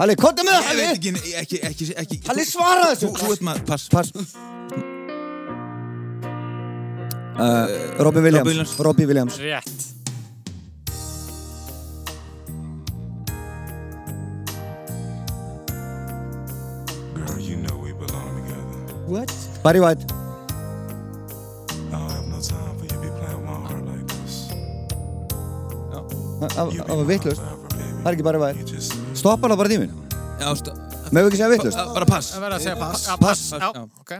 Speaker 5: Halli, kottu með
Speaker 4: Ég
Speaker 5: það,
Speaker 4: veit
Speaker 5: Halli!
Speaker 4: ekki, ekki, ekki, ekki.
Speaker 5: Halli, svara
Speaker 4: Þú, þú
Speaker 5: þessu!
Speaker 4: ert maður, pass.
Speaker 5: Pass. Uh, Robbie
Speaker 4: Robbie
Speaker 5: Williams.
Speaker 4: Williams.
Speaker 5: Robbie Williams.
Speaker 1: rétt,
Speaker 5: What? Barry White. Það það var vittlust. Það er ekki Barry White. Stoppa hana bara tíminn.
Speaker 4: Já, stó.
Speaker 5: Mögum við ekki segja vittlust?
Speaker 4: Bara pass.
Speaker 1: það verður að segja pass, pass,
Speaker 4: pass,
Speaker 1: pass,
Speaker 4: pass,
Speaker 1: já,
Speaker 4: já.
Speaker 1: ok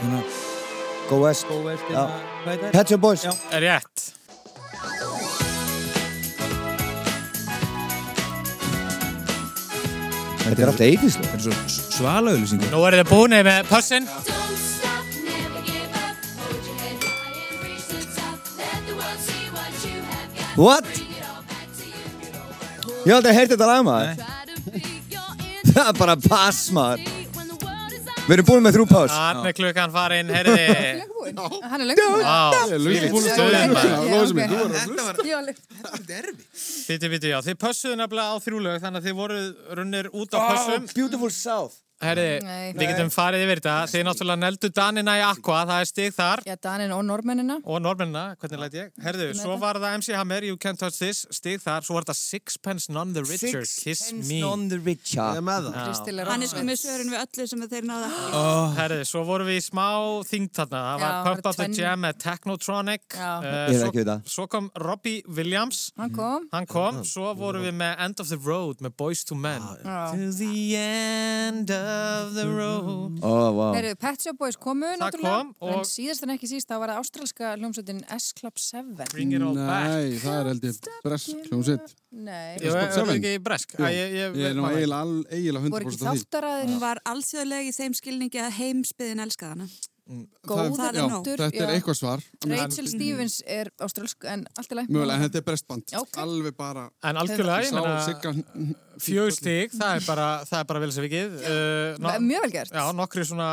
Speaker 4: Hérna,
Speaker 5: Go West.
Speaker 4: Go West,
Speaker 5: Já.
Speaker 4: hérna, hvað heitir
Speaker 5: Catch your boys.
Speaker 4: Já.
Speaker 1: rétt
Speaker 5: Þetta er alltaf eitislega.
Speaker 4: Þetta er svo svalauðlýsingur.
Speaker 1: nú eru þið búinir með passin
Speaker 8: Don't stop, never give up. Hold your head high and reach the top. Let the world see what you have got.
Speaker 5: What?
Speaker 8: Bring it all back to you.
Speaker 5: Ég hef aldrei heyrt þetta lag maður.
Speaker 8: Try to be your
Speaker 5: Það er bara pass maður.
Speaker 8: entity when the world is out.
Speaker 5: Við erum búin með þrjú pass.
Speaker 1: hann er klukkan farin, heyrði
Speaker 2: Hann er löngu búinn.
Speaker 1: Vá,
Speaker 3: Löngu búin að
Speaker 2: Já,
Speaker 3: segja þetta.
Speaker 2: ok.
Speaker 3: Lóðis minn, þú verður að hlusta.
Speaker 2: Ég var löngu-
Speaker 1: býti, býti, já, þið pössuðu nefnilega á þrjú lög þannig að þið voruð runnir út á pössum
Speaker 5: Beautiful South.
Speaker 1: Herri,
Speaker 2: Nei.
Speaker 1: við getum farið yfir þetta. Þið náttúrulega neldu Danina í Aqua, það er stig þar.
Speaker 2: Já, Danin og Normennina.
Speaker 1: Og Norrmennina, hvernig læt ég? Herðu,
Speaker 2: Með
Speaker 1: svo
Speaker 2: það.
Speaker 1: var það MC Hammer, You Can't Touch This, stig þar. Svo var það Sixpence None the Richer, Kiss Me.
Speaker 5: on the
Speaker 6: Ég
Speaker 5: Richard
Speaker 6: er með það.
Speaker 2: Kristilega
Speaker 7: Hann er sko með svörun við öllu sem þeir náða
Speaker 1: Oh. Herðu, svo vorum við í smá þing þarna. Það var
Speaker 2: Já,
Speaker 1: Pump
Speaker 2: bara
Speaker 1: Up the
Speaker 2: tvenn-
Speaker 1: Jam með Technotronic.
Speaker 2: Já.
Speaker 1: Eh,
Speaker 5: Ég er
Speaker 1: svo-
Speaker 5: ekki við það.
Speaker 1: Svo kom Robbie Williams,
Speaker 2: Hann kom.
Speaker 1: hann kom. Svo vorum við með End of the Road með Boys to Men.
Speaker 2: Já.
Speaker 1: To the end of the road.
Speaker 5: Ó, vá
Speaker 2: Heyrðu, Pet Shop Boys komu náttúrulega,
Speaker 1: kom og-
Speaker 2: en síðast en ekki síst þá var það ástralska hljómsveitin S Club 7.
Speaker 1: Bring it all back.
Speaker 3: Nei, það er held ég bresk hljómsveit.
Speaker 2: Nei,
Speaker 1: Ég er
Speaker 3: Seven.
Speaker 1: ekki bresk. Æ, Ég ég-
Speaker 3: Ég er nú eiginlega al- eiginlega
Speaker 2: voru ekki
Speaker 3: 100% af því.
Speaker 2: þáttaraðin
Speaker 7: Hún var allsjöðlega í þeim skilningi að heimsbyðin elskaði hana.
Speaker 2: góða
Speaker 7: það er nóg.
Speaker 2: þáttur.
Speaker 3: Þetta er
Speaker 2: já.
Speaker 3: eitthvað svar.
Speaker 2: Rachel Stevens er ástralsk, en allt er lægt.
Speaker 3: Mjögulega, en þetta er brestband.
Speaker 2: Já, ok.
Speaker 3: Alveg bara,
Speaker 1: En algjörlega,
Speaker 3: ég
Speaker 1: ég
Speaker 3: sá
Speaker 1: meina,
Speaker 3: Sigga
Speaker 1: fjögur stík, það er bara, það er bara vel sem við geð. Uh, no-
Speaker 2: Mjög vel gert.
Speaker 1: Já, nokkri svona,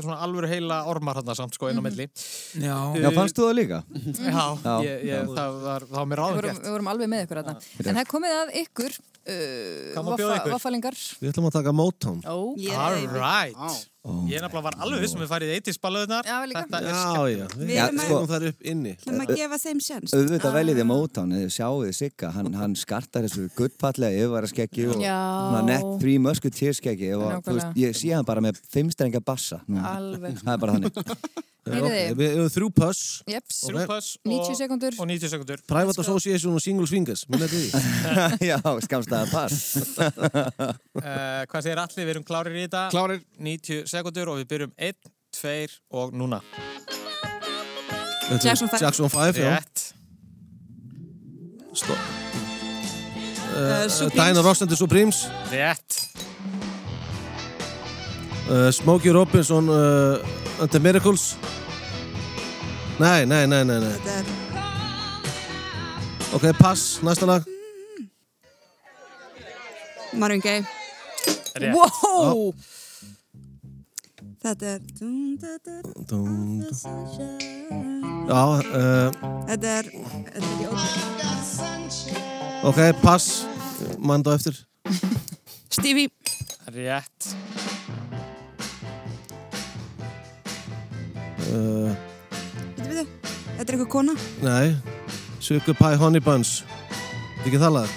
Speaker 1: svona alvöru heila ormar hann samt, sko, inn
Speaker 2: Mhm.
Speaker 1: á milli.
Speaker 4: Já,
Speaker 5: Já, fannst þú það líka?
Speaker 1: Já,
Speaker 5: Já,
Speaker 1: ég, ég, það var, það var mér
Speaker 2: Við
Speaker 1: ráðum
Speaker 2: vorum,
Speaker 1: gert.
Speaker 2: við vorum alveg með ykkur þarna. En það er komið að ykkur, uh,
Speaker 1: Hvað má bjóða ykkur?
Speaker 2: vaffalingar.
Speaker 6: Við ætlum að taka Motown.
Speaker 2: Ó,
Speaker 1: All right.
Speaker 5: Ó.
Speaker 1: Ég nefnilega var alveg vissum við farið í 80s balöðunar.
Speaker 2: Já, líka.
Speaker 1: Þetta er
Speaker 6: Já, já. Við
Speaker 7: Já,
Speaker 6: erum
Speaker 7: sko.
Speaker 6: þar upp inni.
Speaker 7: Hlum að gefa þeim sjans.
Speaker 2: Ah.
Speaker 5: Auðvitað veljið þið Motown, eða sjáu þið Sigga, hann, hann skartar þessu guttpallega yfirvaraskeggi og
Speaker 2: Já.
Speaker 5: svona nett þrý mösku týrskeggi og þú
Speaker 2: Nákvæmlega.
Speaker 5: veist, ég sé hann bara með fimmstrengja bassa. núna.
Speaker 2: Alveg.
Speaker 5: Það er bara þannig.
Speaker 2: Heyrðu,
Speaker 6: Við höfum þrjú pöss.
Speaker 2: jeps.
Speaker 1: þrjú pöss og-
Speaker 2: 90 sekúndur.
Speaker 1: Og 90 sekundur.
Speaker 6: Private Association og Single Swingers. Minna þetta því.
Speaker 5: Já, skamstaða pass.
Speaker 1: Uh, hvað segir allir? Við erum klárir í þetta.
Speaker 3: Klárir.
Speaker 1: 90 sekundur og við byrjum 1, 2 og núna.
Speaker 7: Jackson five.
Speaker 6: Jackson 5, já.
Speaker 1: Rétt.
Speaker 6: Stopp.
Speaker 7: Uh, Supremes.
Speaker 6: Diana Ross and the Supremes.
Speaker 1: Rétt.
Speaker 6: Uh, Smokey Robinson uh, and the Miracles. Nei, nei, nei, nei, nei.
Speaker 7: Þetta er-
Speaker 6: Ok, pass. Næsta lag.
Speaker 7: Marvin Gaye.
Speaker 1: Rétt.
Speaker 2: Wow!
Speaker 7: Þetta er... dun, da, da, da,
Speaker 6: Dum, dum.
Speaker 7: sunshine.
Speaker 6: Já, uh,
Speaker 7: Þetta er... Þetta er ljóð.
Speaker 6: ok, pass. Mann þá eftir.
Speaker 7: Stevie.
Speaker 1: Rétt.
Speaker 6: Uh,
Speaker 7: Þetta er Þetta er eitthvað kona.
Speaker 6: nei. Sugar Pie Honey Buns. Þetta ekki það lag?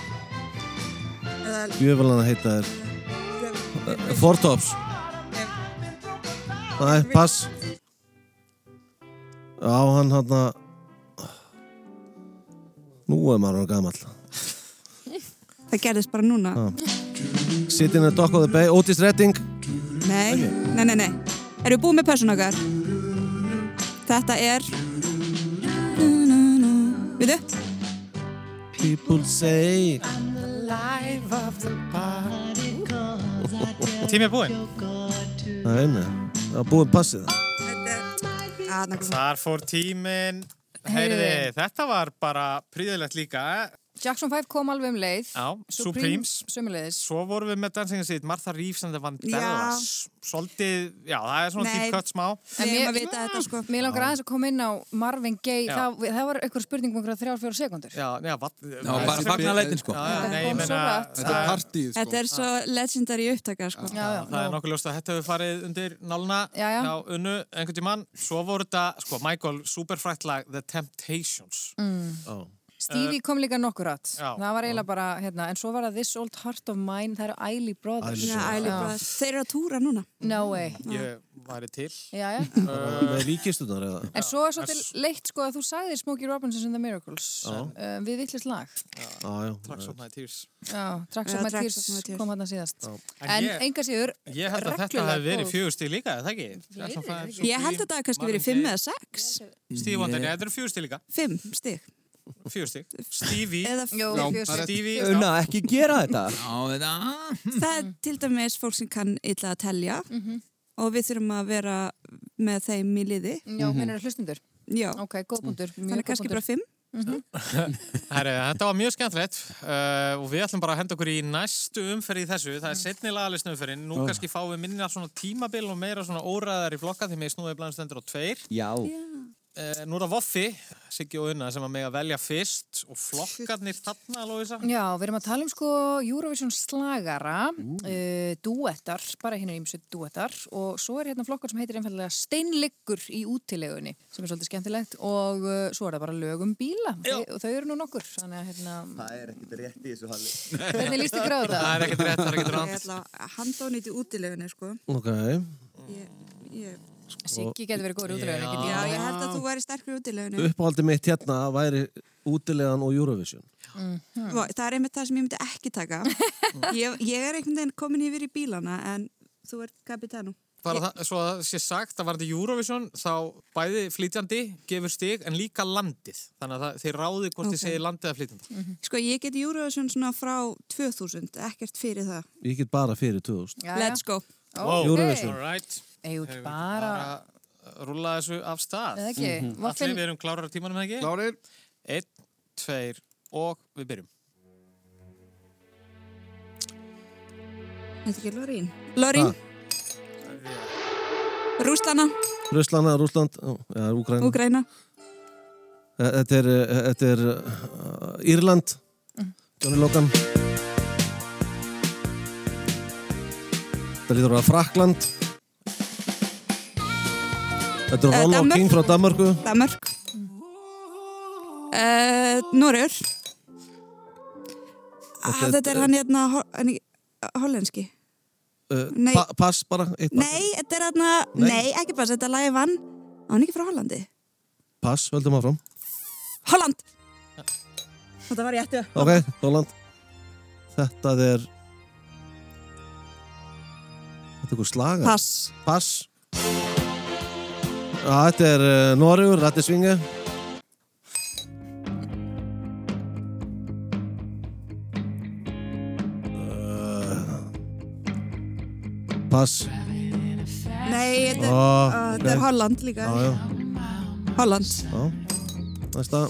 Speaker 7: Eða-
Speaker 6: Jöfulann að heita þér. Uh, Four Tops. Nei, pass. Já, hann hann að... Nú er maður hann gamall.
Speaker 7: Það gerðist bara núna.
Speaker 6: Sitting in a dock of the bay, Otis Redding.
Speaker 7: Nei, nei, nei, nei. Erum við búið með pössun okkar? Þetta er... Við þau?
Speaker 6: People say...
Speaker 1: Tími er búinn.
Speaker 6: Nei, nei. Það var búið passið það.
Speaker 7: Ah,
Speaker 1: Þar fór tíminn.
Speaker 2: Heyrðu.
Speaker 1: Heyrði, þetta var bara príðilegt líka.
Speaker 2: Jackson 5 kom alveg um leið.
Speaker 1: Já, Supremes.
Speaker 2: Sömulegðis.
Speaker 1: Svo vorum við með dansingin sitt Martha Reeves and the Vandellas. Svolítið, já, það er svona
Speaker 7: Nei.
Speaker 1: típkött smá.
Speaker 7: Við
Speaker 2: mér-
Speaker 7: erum að vita þetta sko.
Speaker 2: Mér langar aðeins að koma inn á Marvin Gaye.
Speaker 1: Já.
Speaker 2: Það, það var einhver spurning um einhverja þrjár-fjóra sekundur.
Speaker 1: Já, já, vat,
Speaker 4: já bara
Speaker 3: Þessi-
Speaker 4: fagnaleitin sko.
Speaker 1: Já, já, nei, ég
Speaker 2: kom
Speaker 1: meina,
Speaker 2: svo hratt.
Speaker 3: Þetta er
Speaker 1: það,
Speaker 3: partíð, sko.
Speaker 7: Þetta er svo legendary upptaka sko.
Speaker 2: Já, já,
Speaker 1: það er
Speaker 2: nóg.
Speaker 1: nokkuð ljóst að þetta hefur farið undir náluna
Speaker 2: Já, já.
Speaker 1: hjá Unnu einhvern tímann. Svo voru þetta, sko, Michael, superfrætt lag The Temptations.
Speaker 2: Mhm. Stevie kom líka nokkur átt.
Speaker 1: Já.
Speaker 2: Það var eiginlega bara, hérna, en svo var það This Old Heart of Mine, það eru Eiley Brothers.
Speaker 7: Já, Æli Brothers. Þeir eru að túra núna.
Speaker 2: No way.
Speaker 1: Ég væri til.
Speaker 2: Já, já.
Speaker 6: Með ríkistunar eða...
Speaker 2: En svo er svolítið leitt sko að þú sagðir Smokey Robinson and the Miracles um, við vittlist lag.
Speaker 6: Já, já.
Speaker 1: Tracks of Night Tears.
Speaker 2: Já, Tracks
Speaker 7: Já,
Speaker 2: of My
Speaker 7: Tracks
Speaker 2: Tears
Speaker 7: of My Tears.
Speaker 2: kom hann síðast.
Speaker 1: En
Speaker 2: En
Speaker 1: ég-
Speaker 2: enga síður,
Speaker 1: Ég held að þetta
Speaker 2: reglulega
Speaker 1: hefði verið
Speaker 2: góð.
Speaker 1: fjögustíð líka, er það ekki? Jackson
Speaker 2: Fleiri,
Speaker 1: five, Supreme,
Speaker 2: ekki?
Speaker 7: Ég held að þetta hafi kannski
Speaker 1: Marvin
Speaker 7: verið fimm
Speaker 1: Gaye.
Speaker 7: eða sex.
Speaker 1: Stevie Wonder, nei, þetta eru fjögustíð líka.
Speaker 7: Fimm stig.
Speaker 1: Fjögustíð. Stevie.
Speaker 7: Eða
Speaker 2: Jó,
Speaker 3: Já,
Speaker 2: fjögur
Speaker 3: það
Speaker 2: stig.
Speaker 3: er
Speaker 1: Stevie
Speaker 5: Unna, ekki gera þetta.
Speaker 4: Já, þetta...
Speaker 7: það er til dæmis fólk sem kann illa að telja
Speaker 2: Mhm.
Speaker 7: og við þurfum að vera með þeim í liði.
Speaker 2: Já,
Speaker 1: Mhm.
Speaker 2: mennur hlustundur.
Speaker 7: Já,
Speaker 2: Ok, góð punktur.
Speaker 7: Mm.
Speaker 2: Mjög
Speaker 7: þannig
Speaker 2: góð
Speaker 7: kannski bara
Speaker 2: punktur.
Speaker 7: fimm.
Speaker 1: Herri, þetta var mjög skemmtilegt uh, og við ætlum bara að henda okkur í næstu umferð í þessu, það er
Speaker 7: Mm.
Speaker 1: setni lagalist umferðin nú kannski fáum við minna svona tímabil og meira svona óræðar í flokka því með snúðið blæðum stendur á tveir
Speaker 5: Já.
Speaker 1: Eh, nú er það Voffi, Siggi og Una, sem að mega velja fyrst og flokkarnir þarna, Lóisa.
Speaker 2: Já, við erum að tala um sko Eurovision slagara, uh, duettar, bara hérna ímsu duettar og svo er hérna flokkar sem heitir einfallega steinliggur í útilegunni sem er svolítið skemmtilegt og uh, svo er það bara lögum bíla
Speaker 1: Já.
Speaker 2: og þau eru nú nokkur, þannig að hérna,
Speaker 5: Það er ekkert rétt í þessu halli.
Speaker 2: hvernig líst ykkur á
Speaker 1: Það
Speaker 2: þetta?
Speaker 1: er ekkert rétt, það er ekkert
Speaker 7: Ég
Speaker 1: rátt.
Speaker 7: ætla að handa á nýtt í útilegunni, sko.
Speaker 6: Ok,
Speaker 7: Ég, ég,
Speaker 2: Siggi getur verið góður í útilegunni, ekki
Speaker 7: já,
Speaker 2: dýra?
Speaker 7: ég held að þú væri sterkur í útilegunni.
Speaker 6: uppáhaldi mitt hérna væri útilegan og Eurovision.
Speaker 7: Vá, Það er einmitt það sem ég myndi ekki taka. Ég, ég er einhvern veginn komin yfir í bílana, en þú ert kapitanu.
Speaker 1: Bara það, svo að sé sagt að varandi Eurovision þá bæði flytjandi gefur stig en líka landið. Þannig að það, þeir ráði hvort þið
Speaker 7: Ok.
Speaker 1: segir landið að flytjandi.
Speaker 7: Sko, ég get Eurovision svona frá 2000, ekkert fyrir það.
Speaker 6: Ég get bara fyrir 2000.
Speaker 2: Já, já.
Speaker 7: Let's go.
Speaker 1: Wow.
Speaker 6: Eurovision.
Speaker 1: All right.
Speaker 2: Eigum við
Speaker 1: Eigum við
Speaker 2: bara,
Speaker 1: að rúlla þessu af stað.
Speaker 2: eða ekki,
Speaker 1: Allir
Speaker 2: vaffin,
Speaker 1: við erum klárar á tímanum, eða ekki?
Speaker 3: Klárir?
Speaker 1: Einn, tveir og við byrjum.
Speaker 7: Þetta er ekki Lorín. Lorín. Rúslana,
Speaker 6: Ruslana, Rúsland, já, Úgræna.
Speaker 7: Úgræna.
Speaker 6: Þetta er, eh, þetta er uh, Írland,
Speaker 7: Mm.
Speaker 6: Johnny Logan. Þetta lítur að vera Frakland. Þetta er
Speaker 7: Eh,
Speaker 6: Rollo
Speaker 7: Danmörk.
Speaker 6: King frá Danmarku.
Speaker 7: Danmark uh, Norur ah, Þetta er hann hérna ho- hann í- hollenski
Speaker 6: Uh,
Speaker 7: Nei.
Speaker 6: pa pass bara, eitt pass.
Speaker 7: Nei, þetta er hérna,
Speaker 6: Nei.
Speaker 7: nei, ekki bara þetta er lagið vann Á hann ekki frá Hollandi
Speaker 6: Pass, höldum áfram.
Speaker 7: Holland Þetta var ég ættu
Speaker 6: Ok, Róland. Þetta er... Þetta er eitthvað slaga.
Speaker 7: Pass
Speaker 6: Pass. Já, þetta er uh, Noregur, Rattisvinge. Eh, Pass.
Speaker 7: Nei, þetta,
Speaker 6: Ó,
Speaker 7: oh, þetta
Speaker 6: ok.
Speaker 7: er Holland líka
Speaker 6: Já, já,
Speaker 7: Holland
Speaker 6: já. Næsta.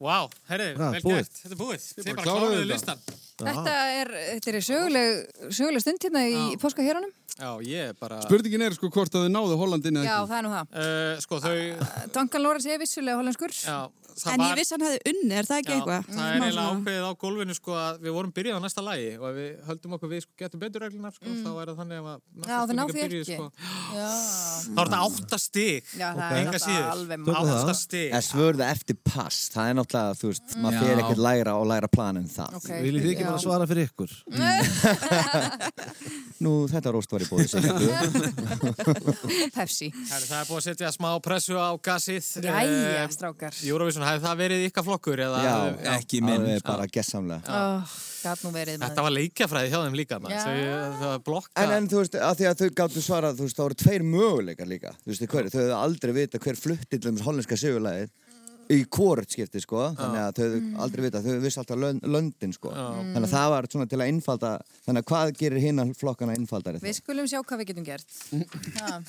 Speaker 1: Vá, herriði,
Speaker 6: Ja,
Speaker 1: vel
Speaker 6: búið.
Speaker 1: gert. Þetta er Ah, búið. Þið bara
Speaker 3: kláruðu
Speaker 1: kláruðu
Speaker 3: þetta.
Speaker 1: listan.
Speaker 2: þetta er, þetta er söguleg, söguleg stund hérna í páskaherunum.
Speaker 1: Já, ég er bara...
Speaker 3: Spurningin er sko hvort að þið náðu Hollandin eða
Speaker 2: Já,
Speaker 3: ekki.
Speaker 2: það er nú það.
Speaker 1: Uh, sko, þau...
Speaker 2: Duncan Lawrence er vissulega hollenskur.
Speaker 1: Já, það
Speaker 7: Ah. En ég
Speaker 1: var...
Speaker 7: vissi hann hefði unni, er það ekki
Speaker 1: Já,
Speaker 7: eitthvað?
Speaker 1: það er eiginlega ákveðið á gólfinu sko að við vorum byrjað á næsta lagi og ef við höldum okkur við sko getum betur reglunar sko þá er það þannig ef að
Speaker 2: Mm. Já, þau ná
Speaker 1: spurningar
Speaker 2: því
Speaker 1: byrjuð,
Speaker 2: ekki.
Speaker 1: sko.
Speaker 2: Já,
Speaker 1: Þá er þetta
Speaker 5: Mm.
Speaker 1: átta stig
Speaker 2: já það
Speaker 6: Ok.
Speaker 2: er
Speaker 1: Enga
Speaker 2: náttúrulega
Speaker 1: síður.
Speaker 2: alveg
Speaker 6: Tökum
Speaker 2: mátt.
Speaker 6: það.
Speaker 1: Átta stig
Speaker 5: En svörða eftir pass, það er náttúrulega, þú veist, maður
Speaker 4: Já.
Speaker 5: fer ekkert læra og læra plan um það.
Speaker 2: Ok,
Speaker 6: Viljið þið ekki
Speaker 2: já.
Speaker 6: bara svara fyrir ykkur?
Speaker 5: Nú, þetta róst var í bóði sem
Speaker 2: Pepsi.
Speaker 1: Herri, Það er búið að setja smá pressu á gasið
Speaker 2: Jæja,
Speaker 1: Eh,
Speaker 2: strákar.
Speaker 1: Eurovision, hefði það verið ykkar flokkur eða
Speaker 5: Já,
Speaker 4: Ekki minn.
Speaker 5: alveg
Speaker 2: sko.
Speaker 5: bara gessamlega.
Speaker 2: Gat nú verið maður.
Speaker 1: Þetta var leikjafræði hjá þeim líka maður.
Speaker 2: Já.
Speaker 1: Þau- þau blokka
Speaker 5: En, en þú veist, að því að þau gáttu svarað, þú veist, það voru tveir möguleikar líka. Þú veist, hverju, þau hefðu aldrei vita hver flutti til þess hollenska sigurlæðið í hvort skipti, sko. Þannig að þau hefðu
Speaker 2: Mm.
Speaker 5: aldrei vita, þau hefðu vissi alltaf lön, löndin, sko. Þannig að það var svona til að einfalda, þannig að hvað gerir hinn flokkana einfaldari? þá?
Speaker 2: Við skulum sjá hvað við getum gert. Ha,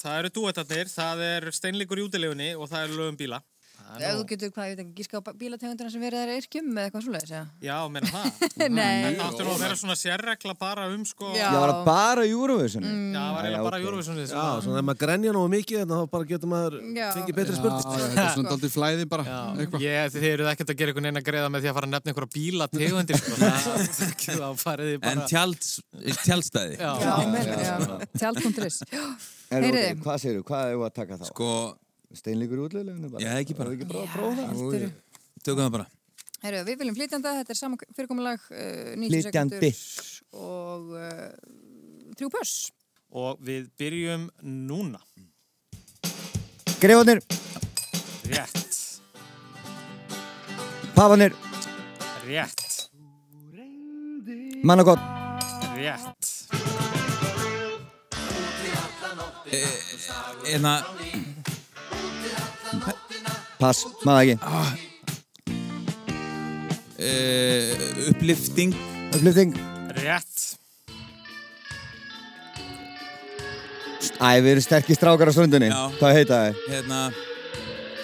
Speaker 1: Það eru duetarnir, það er steinleikur í útilegunni og það eru lögum bíla
Speaker 2: Ef þú getur hvað, ég veit ekki, gíska á bílategundina sem verið þær yrkjum eða eitthvað svoleiðis, já.
Speaker 1: Já, menna það
Speaker 2: Nei.
Speaker 1: Þetta áttur nú að vera svona sérregla bara um sko
Speaker 2: Já.
Speaker 5: Já, var það bara Eurovision?
Speaker 2: Mm.
Speaker 1: Já, það var eiginlega
Speaker 5: Já,
Speaker 1: bara
Speaker 5: ok.
Speaker 1: Eurovisionið sem
Speaker 6: Já,
Speaker 1: var-
Speaker 6: svona ef maður grenja nógu mikið þannig að þá bara getur maður
Speaker 2: Já.
Speaker 6: fengið betri
Speaker 3: Já,
Speaker 6: spurning.
Speaker 3: já, þetta er svona daldið flæði bara. Eitthvað.
Speaker 1: Ég, þið eruð ekkert að gera einhvern veginn að greiða með því að fara að nefna einhverja bíla tegundir sko. Það- þá farið þið
Speaker 4: En
Speaker 1: bara
Speaker 4: tjalds, tjaldstæði.
Speaker 1: Já.
Speaker 2: Já, með- já. Tjald.is.
Speaker 5: En,
Speaker 2: Heyrðu.
Speaker 5: ok, Hvað segir þú? Hvað hefur að taka þá?
Speaker 4: Sko,
Speaker 5: Steinleikur útleginu bara?
Speaker 4: Já, ekki bara.
Speaker 5: Það ekki bara að prófa það?
Speaker 4: jú, jú. tökum það bara.
Speaker 2: Herru, við viljum flytjanda, þetta er sama fyrirkomulag, uh, 90
Speaker 5: Flytjandi.
Speaker 2: sekundur og uh, þrjú pöss.
Speaker 1: Og við byrjum núna
Speaker 5: Greifanir,
Speaker 1: Rétt,
Speaker 5: pafanir,
Speaker 1: rétt,
Speaker 5: mannagott,
Speaker 1: rétt
Speaker 4: Eða,
Speaker 5: pass, maður ekki,
Speaker 4: uh, upplifting,
Speaker 5: upplýfting,
Speaker 1: Rétt,
Speaker 5: æ, við erum sterkir strákar á ströndinni,
Speaker 4: Já.
Speaker 5: hvað heita það?
Speaker 4: hérna,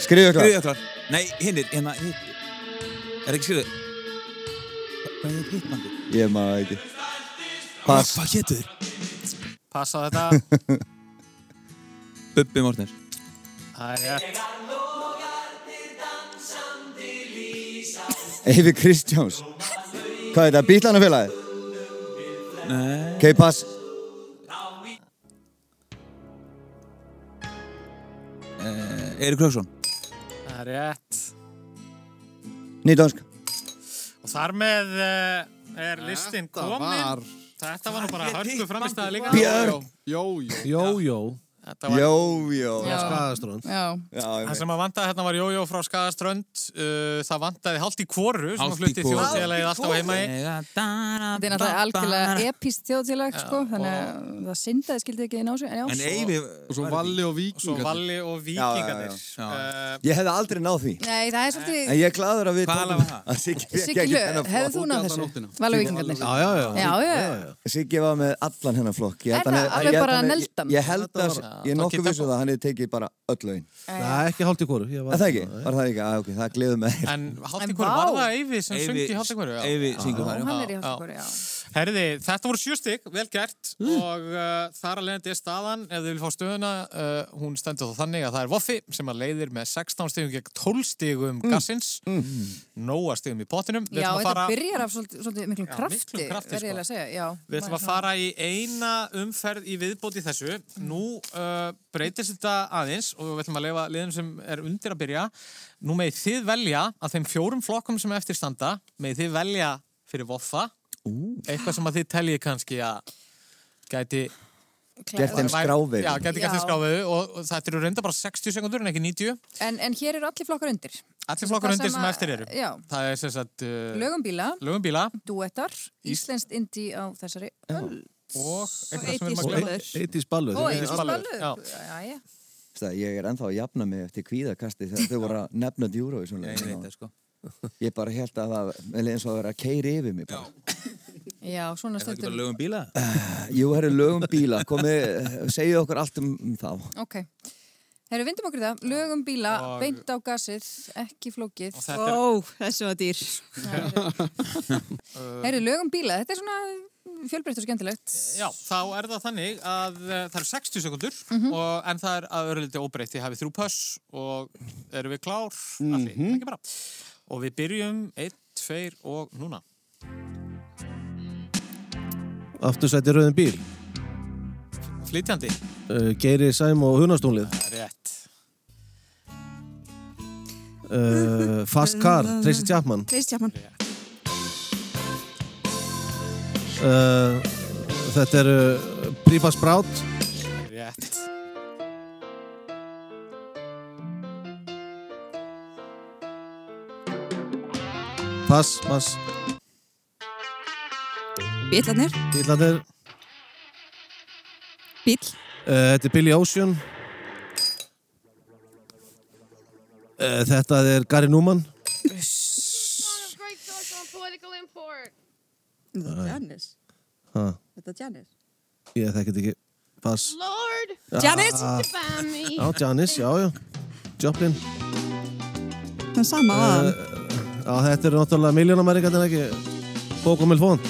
Speaker 5: Skriðjöklar,
Speaker 4: Guðjóklar. Nei, hinnir, hérna, hitt. Er ekki skriðu? Hvað er hitt bandi?
Speaker 5: ég maður ekki,
Speaker 4: Hvað
Speaker 5: pass,
Speaker 4: hétu þér?
Speaker 1: passa þetta
Speaker 4: Bubbi Mortner.
Speaker 1: Það er rétt
Speaker 5: Eyfi Kristjáns Hvað er þetta, bílanafélagið? Nei K-Pass
Speaker 4: Eirik Kröksson
Speaker 1: Það er rétt.
Speaker 5: Nýdönsk
Speaker 1: Og þar með eh, er listin komin.
Speaker 3: var-
Speaker 1: Þetta var nú bara hörku framistæða líka.
Speaker 5: Björn
Speaker 3: Jó, jó.
Speaker 6: Jó, jó,
Speaker 1: Þetta var
Speaker 5: Jó, jó
Speaker 2: Já.
Speaker 6: skadastrón
Speaker 2: Já,
Speaker 5: Já,
Speaker 1: Það sem að vantaði hérna var Jójó frá Skagaströnd uh, Það vantaði hálft í kvoru sem að
Speaker 4: Hálft í
Speaker 1: flutti
Speaker 4: hvoru.
Speaker 1: þjóðfélagið alltaf heima í
Speaker 2: þetta er náttúrulega algjörlega epist þjóðfélag, sko, þannig að það syndaði skildi ekki inn á sig, en já.
Speaker 4: En Eyvi
Speaker 3: Og svo Valli og
Speaker 1: og svo
Speaker 3: Víkingar.
Speaker 1: Valli og Víkingarnir
Speaker 4: Já, já,
Speaker 1: uh,
Speaker 5: Ég hefði aldrei náð því
Speaker 2: Nei, það er
Speaker 5: En
Speaker 2: svolítið,
Speaker 5: ég er gladur að við
Speaker 4: Hvað
Speaker 5: tókum-
Speaker 4: lag var það?
Speaker 5: að Siggi fékk
Speaker 2: Siggi
Speaker 5: ekki
Speaker 2: Hlöð,
Speaker 5: þennan
Speaker 2: hefðu
Speaker 5: flokk.
Speaker 2: þú náð þessu?
Speaker 3: nóttina.
Speaker 2: Vala vikingarnir.
Speaker 6: Já, já, já
Speaker 2: Já, já, já.
Speaker 5: Siggi var með allan hennar flokk Ég
Speaker 2: Er
Speaker 5: held að
Speaker 2: það
Speaker 5: hann-
Speaker 2: alveg
Speaker 5: ég held
Speaker 2: bara
Speaker 5: að hann-
Speaker 2: neldan?
Speaker 5: Ég held að, ég er
Speaker 1: Doggy
Speaker 5: nokkuð vissu
Speaker 1: Doggo.
Speaker 5: það að hann hefði tekið bara öll lögin
Speaker 2: Eh.
Speaker 6: Nei, ekki hálft í kóru ég
Speaker 5: Er
Speaker 6: var- hérna, eh.
Speaker 5: það ekki? Var það ekki? Á, ok, það gleður mig
Speaker 1: En hálft
Speaker 2: En
Speaker 1: í kvoru, var
Speaker 2: vá.
Speaker 1: það Eyvi sem
Speaker 4: Eyvi-
Speaker 1: söng í hálft í kvoru?
Speaker 4: Eyvi syngur
Speaker 2: Og
Speaker 4: þar já.
Speaker 2: hann er í
Speaker 1: Já,
Speaker 2: háttakóri, já.
Speaker 1: Herði, þetta voru sjöstig, vel gert
Speaker 6: Mm.
Speaker 1: og uh, þar að leiðandi er staðan ef þið vil fá stöðuna, uh, hún stendur þá þannig að það er Voffi sem að leiðir með 16 stigum gegn 12 stigum
Speaker 6: Mm.
Speaker 1: gassins nóa stigum í pottinum Við ætlum
Speaker 2: Já,
Speaker 1: að
Speaker 2: þetta
Speaker 1: fara-
Speaker 2: byrjar af svolítið, svolítið miklum
Speaker 1: Já,
Speaker 2: krafti,
Speaker 1: miklum krafti,
Speaker 2: verð ég
Speaker 1: sko.
Speaker 2: eiginlega að segja. Já,
Speaker 1: Við ætlum að fara í eina umferð í viðbóti þessu. Nú uh, breytist þetta aðeins og við ætlum að leifa liðum sem er undir að byrja. Nú með þið velja að þeim fjórum flokkum sem eftir standa, með þið velja fyrir voffa, eitthvað sem að þið teljið kannski að gæti...
Speaker 5: Gert þeim skráfið
Speaker 1: Já, gæti gert
Speaker 2: Já.
Speaker 1: þeim skráfið og, og þetta eru reynda bara 60 sekundur en ekki 90.
Speaker 2: En, en hér eru allir flokkar undir.
Speaker 1: Allir flokkar
Speaker 2: Það
Speaker 1: undir sem
Speaker 2: að-
Speaker 1: eftir eru.
Speaker 2: Já,
Speaker 1: Það er sem sagt uh,
Speaker 2: lögum bíla,
Speaker 1: lögum bíla
Speaker 2: duettar, íslenskt indi á þessari öll.
Speaker 1: og eitthvað sem við
Speaker 7: Og
Speaker 1: erum að gleyma.
Speaker 7: Eiddís
Speaker 6: Eitís ballu
Speaker 2: Ó, ég
Speaker 1: spalur.
Speaker 2: spalur.
Speaker 1: Já.
Speaker 2: Já, já.
Speaker 5: Það, ég er ennþá að jafna mig eftir kvíðakasti þegar þau voru að nefna djúru í svona
Speaker 4: Ég veit það sko
Speaker 5: Ég bara held að það, með leiðin svo að vera að keiri yfir mig bara.
Speaker 2: já, svona
Speaker 4: Er það ekki
Speaker 2: stundum.
Speaker 4: bara lögum bíla?
Speaker 5: Jú, herri lögum bíla, komið, segið okkur allt um, um þá.
Speaker 2: Ok. Herru, vindum okkur í það. Lögum bíla,
Speaker 1: Og-
Speaker 2: beint á gasið, ekki flókið.
Speaker 1: Og þetta er
Speaker 7: Ó, þessu var dýr
Speaker 2: Herru, lögum bíla, þetta er svona fjölbreytt og skemmtilegt.
Speaker 1: Já, þá er það þannig að uh, það eru 60 sekundur
Speaker 2: Mhm.
Speaker 1: og, en það er að öru liti óbreytt ég hafi þrjú pöss og erum við klár allir,
Speaker 2: Mhm.
Speaker 1: ekki bara og við byrjum 1, 2 og núna
Speaker 6: Aftursæti rauðin bíl
Speaker 1: flytjandi,
Speaker 6: uh, Geiri Sæm og Hunastúnlið
Speaker 1: rétt
Speaker 6: uh, Fast Car, Tracy Chapman
Speaker 7: Trist Japan
Speaker 6: uh, Þetta eru uh, Prífa Sprát
Speaker 1: rétt,
Speaker 6: Pass, pass
Speaker 7: Bílarnir,
Speaker 6: Bílarnir uh,
Speaker 7: bíl
Speaker 6: Þetta er Billy Ocean uh, Þetta er Gary Newman
Speaker 7: Janis,
Speaker 6: ha,
Speaker 7: þetta er Janis
Speaker 6: Ég þekkit ekki Pass
Speaker 7: Janis,
Speaker 8: Ah.
Speaker 6: Já, Janis, já, já Joplin
Speaker 7: það er sama aðan
Speaker 6: Já, þetta eru náttúrulega miljónamæringarnir ekki Bókum vil fónt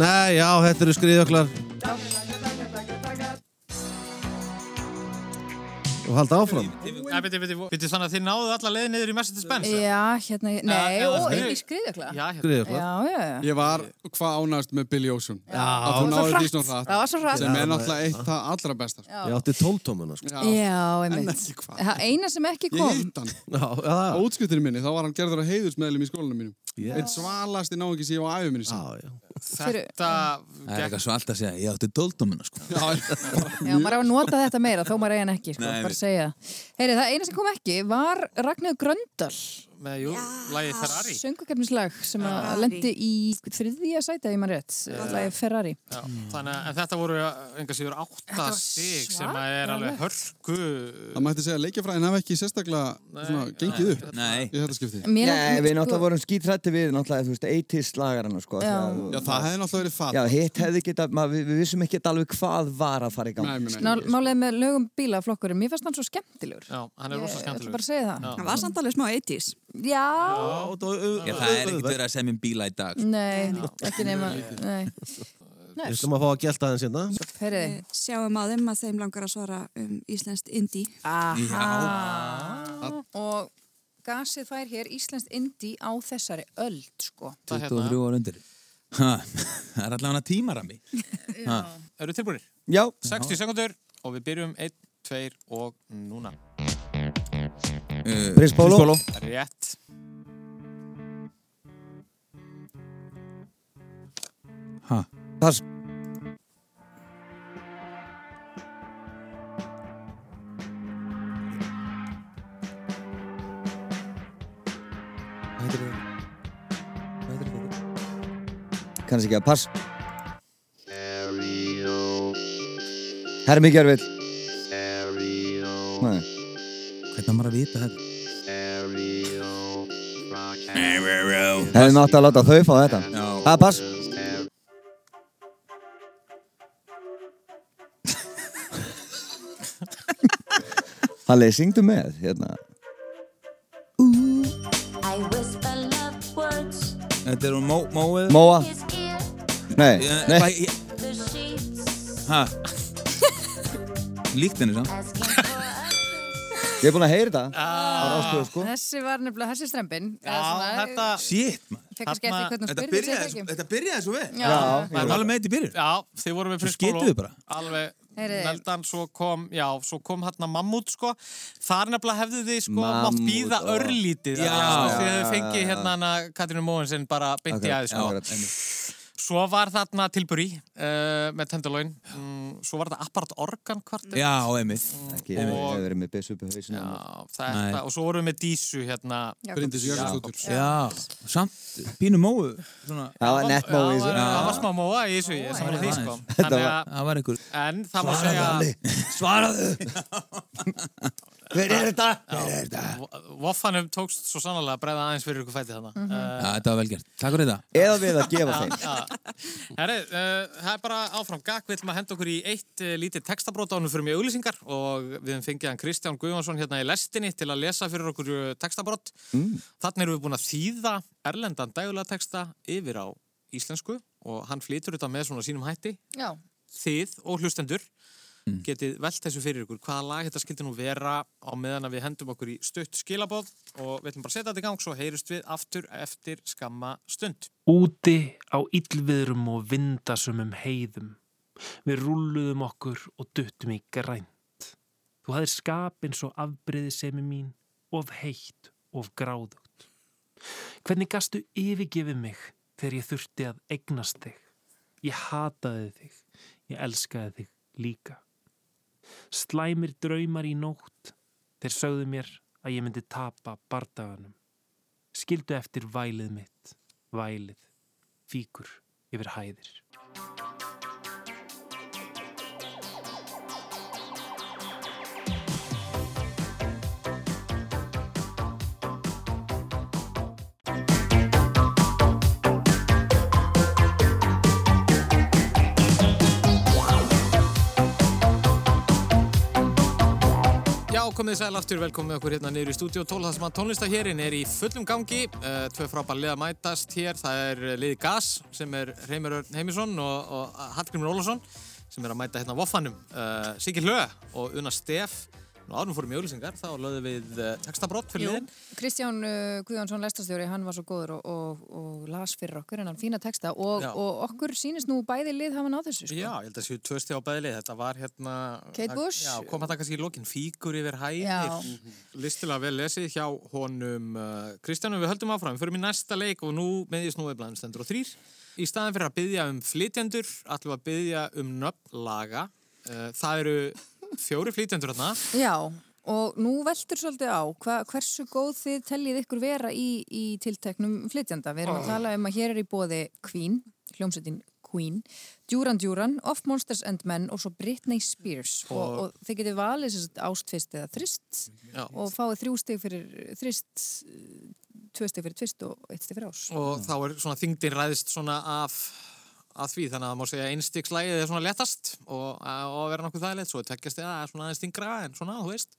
Speaker 6: Nei, já, þetta eru skriðjöklar Og halda áfram
Speaker 1: það byrju, byrju, byrju þannig að þið náðu alla leið niður í Mercedes Benz eða?
Speaker 2: Já, hérna, nei,
Speaker 1: já,
Speaker 2: og
Speaker 1: það er-
Speaker 2: ekki skriðjökla. Já,
Speaker 1: já, hérna
Speaker 6: Skriðjöklar
Speaker 2: já, já.
Speaker 3: Ég var hvað ánægast með Billy Ocean. Já. Að þú
Speaker 2: Það var
Speaker 3: náður
Speaker 2: svo
Speaker 3: því svona
Speaker 2: hratt.
Speaker 3: hratt.
Speaker 2: Það var svo hratt.
Speaker 3: Sem er náttúrulega eitt það allra besta. sko.
Speaker 6: Ég átti tóltómuna sko.
Speaker 2: Já,
Speaker 3: En
Speaker 2: einmitt.
Speaker 3: ekki hvað.
Speaker 2: Það eina sem ekki
Speaker 3: Ég
Speaker 2: kom,
Speaker 3: hitt hann.
Speaker 6: Já, já,
Speaker 3: Á útskriftinu minni, þá var hann gerður að heiðursmeðlum í skólanum mínum.
Speaker 6: Yes.
Speaker 3: Eitt svalasti náðingi sem ég á æfum minni
Speaker 6: já,
Speaker 3: sem.
Speaker 6: já
Speaker 1: þetta
Speaker 4: Það er
Speaker 1: gekk
Speaker 4: eitthvað svo alltaf að segja Ég átti dóltómuna sko
Speaker 2: já, maður á að nota þetta meira, þó maður eigin ekki, sko,
Speaker 4: Nei,
Speaker 2: bara
Speaker 4: einmitt.
Speaker 2: segja. Heyri, það eina sem kom ekki var Ragnhjóð Gröndal,
Speaker 1: með jú, lagið Ferrari
Speaker 2: söngukefnislag sem að lendi í þriðja sæti, ef ég maður rétt, lagi Ferrari.
Speaker 1: já, þannig að en þetta voru enga síður
Speaker 2: Þetta var
Speaker 1: 8 stig sem að er alveg hörku
Speaker 3: Það mætti segja að leikjafræðin hafi ekki sérstaklega svona, gengið upp
Speaker 4: Nei
Speaker 3: í þetta skipti.
Speaker 2: Mér-
Speaker 5: Nei,
Speaker 2: mér-
Speaker 5: við
Speaker 2: sko-
Speaker 5: náttúrulega vorum skítrætti við, náttúrulega, þú veist, 80 slagarana, sko.
Speaker 2: Já.
Speaker 5: þegar-
Speaker 3: Já, það hefði náttúrulega verið fatt.
Speaker 5: Já, hitt hefði geta, maður, við, við vissum ekki alveg hvað var að fara í gang.
Speaker 3: Nei, nei, nei.
Speaker 2: Ná- sko, Málið með um lögum bílaflokkurum, mér fannst hann svo skemmtilegur.
Speaker 1: já, hann er rosa
Speaker 2: Ég ætla
Speaker 1: skemmtilegur
Speaker 2: bara að segja það.
Speaker 7: Það var samt alveg smá 80s
Speaker 2: Já,
Speaker 4: Ég, Það er ekkert verið að segja mér um bíla í dag sko.
Speaker 2: nei, ekki nema, nei.
Speaker 6: Við slum að fá að gelta aðeins hérna
Speaker 2: Heyriði,
Speaker 7: Sjáum að þeim að þeim langar að svara um íslenskt indie
Speaker 2: Aha. Og gasið fær hér Íslands Indi á þessari öld, sko.
Speaker 1: Það er hérna.
Speaker 4: 23 ára undir Ha, það er allavega tímarami
Speaker 1: Eru tilbúinir?
Speaker 5: Já,
Speaker 1: 60 sekundur og við byrjum 1, 2 og núna.
Speaker 5: Prins Bólo.
Speaker 1: Rétt.
Speaker 4: Ha,
Speaker 5: pass
Speaker 4: hvað heitir það? Hvað heitir það?
Speaker 5: Kannski ekki að pass Það er mikið erfitt Nei,
Speaker 4: Hvernig á maður að vita þetta?
Speaker 5: það er nátt að láta þau fá þetta Það er pass Halli, syngdu með hérna.
Speaker 4: Þetta er um mó, móið
Speaker 5: Móa Nei, nei,
Speaker 4: Nei Ha Líkt henni sann
Speaker 5: ég er búinn að heyra þetta
Speaker 1: Ah.
Speaker 5: á ráðstöðu sko
Speaker 2: Þessi var nefnilega, þessi strempin.
Speaker 1: Já, þetta...
Speaker 4: Shit, maður
Speaker 2: Fekk kannski eftir
Speaker 1: þarna-
Speaker 2: hvernig hún
Speaker 4: Þetta
Speaker 2: spurði
Speaker 4: byrjaði,
Speaker 2: þessi
Speaker 4: svo-
Speaker 2: ekki.
Speaker 4: þetta byrjaði svo vel
Speaker 2: Já,
Speaker 5: Já,
Speaker 4: Það er alveg með þetta í byrjun
Speaker 1: Já, þið voru með
Speaker 4: Svo
Speaker 1: prins Bólo.
Speaker 4: skituðu bara.
Speaker 1: Alveg.
Speaker 2: Heyrðu.
Speaker 1: Neldan, svo kom, já, svo kom hérna mammút, sko. Þar nefnilega hefðu þið, sko, mátt
Speaker 5: Mammút,
Speaker 1: býða
Speaker 5: ó.
Speaker 1: örlítið.
Speaker 4: Já,
Speaker 1: Sko, þið
Speaker 5: já,
Speaker 1: hefðu fengið
Speaker 5: já, já.
Speaker 1: hérna hana Katrínu Móhensen bara beint í aðeins, sko.
Speaker 5: akkurat.
Speaker 1: Svo var þarna tilbúri uh, með tendalóin. Mm, svo var þetta apart organ kvartir.
Speaker 4: Já, emið
Speaker 5: Ekki, ég hef verið með byssu upp í hausinu
Speaker 1: Já, það er
Speaker 4: Nei.
Speaker 1: þetta. Og svo vorum við með Dísu hérna.
Speaker 3: Bryndis Jakobsdóttur.
Speaker 4: Já, samt pínu móið Svona,
Speaker 5: Það var nett sko. móið í
Speaker 1: Já,
Speaker 5: þessu.
Speaker 1: Það var smá móa í þessu, ég saman því, sko.
Speaker 4: Þetta
Speaker 1: Þannig að,
Speaker 4: það var einhver
Speaker 1: en það má segja,
Speaker 4: Svaraðu
Speaker 5: Hver er þetta? Hver er þetta?
Speaker 1: voffanum tókst svo sannlega að bregða aðeins fyrir ykkur fæti þarna. Mm -hmm.
Speaker 4: Já, þetta var vel gert Takk fyrir þetta
Speaker 5: Eða við að gefa þeim
Speaker 1: Herri, uh, það er bara áfram gag, við ætlum að henda okkur í eitt uh, lítið textabrót ánum fyrir mjög auglýsingar og við höfum fengið hann Kristján Guðjónsson hérna í lestinni til að lesa fyrir okkur uh, textabrót. Mm. Þannig erum við búin að þýða erlendan dægulega texta yfir á íslensku og hann flytur þetta með svona sínum hætti,
Speaker 2: Já,
Speaker 1: þið og hlustendur. Getið velt þessu fyrir ykkur, hvaða lag þetta skildi nú vera á meðan að við hendum okkur í stutt skilabóð og við ætlum bara að setja þetta í gang svo heyrist við aftur eftir skamma stund.
Speaker 10: Úti á illviðrum og vindasumum heiðum. Við rúluðum okkur og duttum í grænt. Þú hafðir skap eins og afbriðisemi mín, of heitt, of gráðugt. Hvernig gastu yfirgefið mig þegar ég þurfti að egnast þig? Ég hataði þig, ég elskaði þig líka. Slæmir draumar í nótt, þeir sögðu mér að ég myndi tapa bardaganum. Skildu eftir vælið mitt vælið, fíkur yfir hæðir.
Speaker 1: Já, komið sæl aftur, velkomið okkur hérna niður í stúdíu 12, það sem að tónlista hérinn er í fullum gangi, uh, tvö frábær lið að mætast hér, það er eh, liði Gas sem er Reymur Örn Heimisson og, og Hallgrímur Ólafsson sem er að mæta hérna Voffanum, uh, Siggi Hlö og Una Steff, nú árum fórum í auglýsingar, þá löðum við uh, textabrótt fyrir
Speaker 2: jú.
Speaker 1: liðin.
Speaker 2: Kristján uh, Guðjónsson lestarstjóri, hann var svo góður og, og, og las fyrir okkur en hann fína texta og,
Speaker 1: Já.
Speaker 2: og okkur sýnist nú bæði lið hafa náð þessu, sko.
Speaker 1: Já, ég held að séu tvö stið á bæðlið, þetta var hérna...
Speaker 2: Kate
Speaker 1: það-
Speaker 2: Bush.
Speaker 1: Já, kom þetta kannski í lokin fíkur yfir
Speaker 2: Já.
Speaker 1: hæðir. Listilega vel lesið hjá honum uh, Kristjánum, við höldum áfram, við förum í næsta leik og nú með því snúið blæðum stendur og þrýr. Í staðin fyrir að byggja um flytjendur, ætlum við að byggja um nöfn laga. Uh, það eru fjóri flytjendur hérna.
Speaker 2: Já, og nú veltur svolítið á hva, hversu góð þið teljið ykkur vera í, í tilteknum flytjanda. Við erum að tala um að hér er í bóði Queen, hljómsveitin Queen, Duran Duran, Of Monsters and Men og svo Britney Spears. Og, og, þið getið valið sérst ástfist eða þrist
Speaker 1: Já.
Speaker 2: og fáið þrjú stig fyrir þrist, tvö stig fyrir tvist og eitt stig fyrir ás.
Speaker 1: Og þá er svona þingdin ræðist svona af að því, þannig að það má segja einstigslægið eh, er svona letast og, og að vera nokkuð þægilegt, svo er tveggjast eða svona aðeins þingra en svona, þú veist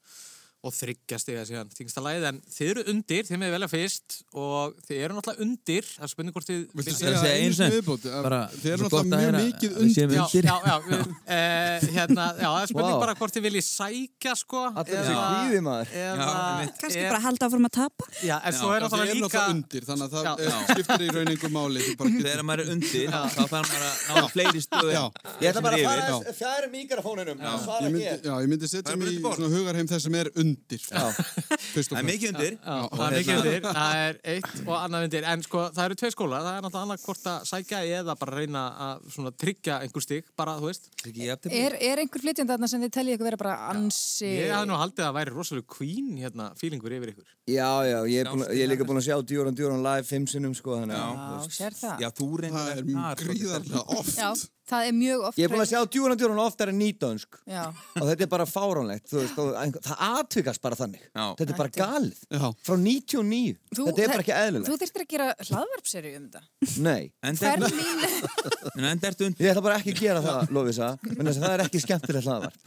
Speaker 1: og þryggja stiga síðan þingsta lagið, en þið eru undir, þið með velja fyrst og þið eru náttúrulega undir það er spurning hvort þið
Speaker 3: Viltu
Speaker 1: viljið-
Speaker 3: segja
Speaker 4: segja einu
Speaker 3: einu sinni
Speaker 4: sinni?
Speaker 3: viðbót? Að
Speaker 4: Bara,
Speaker 3: Þið eru
Speaker 4: svo gott
Speaker 3: náttúrulega mjög
Speaker 4: að heyra
Speaker 3: mikið
Speaker 4: að við
Speaker 3: undir.
Speaker 4: séum
Speaker 1: Já,
Speaker 4: við- Undir.
Speaker 1: já, já, við, eh, hérna, já, það er spurning
Speaker 5: Vá.
Speaker 1: bara hvort þið viljið sækja, sko
Speaker 5: Allir þessi kvíði, maður.
Speaker 1: eða,
Speaker 7: Kanski
Speaker 1: eða-
Speaker 7: bara halda áfram að tapa.
Speaker 1: Já, en svo er
Speaker 3: Þið eru
Speaker 1: náttúrulega líka
Speaker 3: náttúrulega undir, þannig að það
Speaker 1: Já.
Speaker 3: eh, skiptir í raunningu máli. Þú bara getur
Speaker 4: Þegar maður er undir, þá þarf maður að ná fleiri stöðu.
Speaker 3: Já.
Speaker 5: Ég ætla bara að
Speaker 3: yfir,
Speaker 5: fara aðeins fjær mikrofóninum
Speaker 3: Ég
Speaker 5: og svara
Speaker 3: myndi,
Speaker 5: hér.
Speaker 3: já, ég myndi setja
Speaker 4: Það er
Speaker 3: mig í
Speaker 4: bara undir borð.
Speaker 3: svona hugarheim þess sem er undir fyrst og
Speaker 4: Það er
Speaker 3: fremst
Speaker 4: mikið undir.
Speaker 1: Já, það er mikið undir, það er eitt og annað undir en sko, það eru tvei skólar, það er náttúrulega annað hvort að sækja eða bara reyna að svona tryggja einhver stig, bara, þú veist
Speaker 4: Það er ekki jafn til.
Speaker 2: Er, er einhver flytjandi þarna sem þið teljið ykkur vera bara ansi...
Speaker 1: Ég hafði nú haldið að það væri rosalega queen hérna, fílingur yfir ykkur
Speaker 5: Já, já, ég er, búin, ég er líka búin að sjá Djúran Djúran live fimm sinnum, sko, þannig að... þú
Speaker 2: Já,
Speaker 5: veist.
Speaker 2: sér það.
Speaker 4: Já, þú
Speaker 3: Það
Speaker 4: reynir
Speaker 3: er
Speaker 4: þar svolítið.
Speaker 3: gríðarlega oft
Speaker 2: Já, það er mjög oft...
Speaker 5: Ég er búin að sjá Djúran Djúran oftar en nýdönsk
Speaker 2: Já,
Speaker 5: og þetta er bara fáránlegt, þú veist, og einhver- það atvikast bara þannig.
Speaker 4: Já.
Speaker 5: Þetta er bara galið.
Speaker 3: Já.
Speaker 5: Frá 99.
Speaker 2: Þú-
Speaker 5: þetta
Speaker 2: það-
Speaker 5: er bara ekki
Speaker 2: þú
Speaker 5: eðlilegt.
Speaker 2: þyrftir að gera hlaðvarpseri um þetta.
Speaker 5: Nei,
Speaker 4: Enda
Speaker 2: Hver
Speaker 4: ertu-
Speaker 2: mín...
Speaker 4: en enda ertu undir.
Speaker 5: ég ætla bara ekki að gera það, Lofisa, menn þess að það er ekki skemmtilegt hlaðvarp.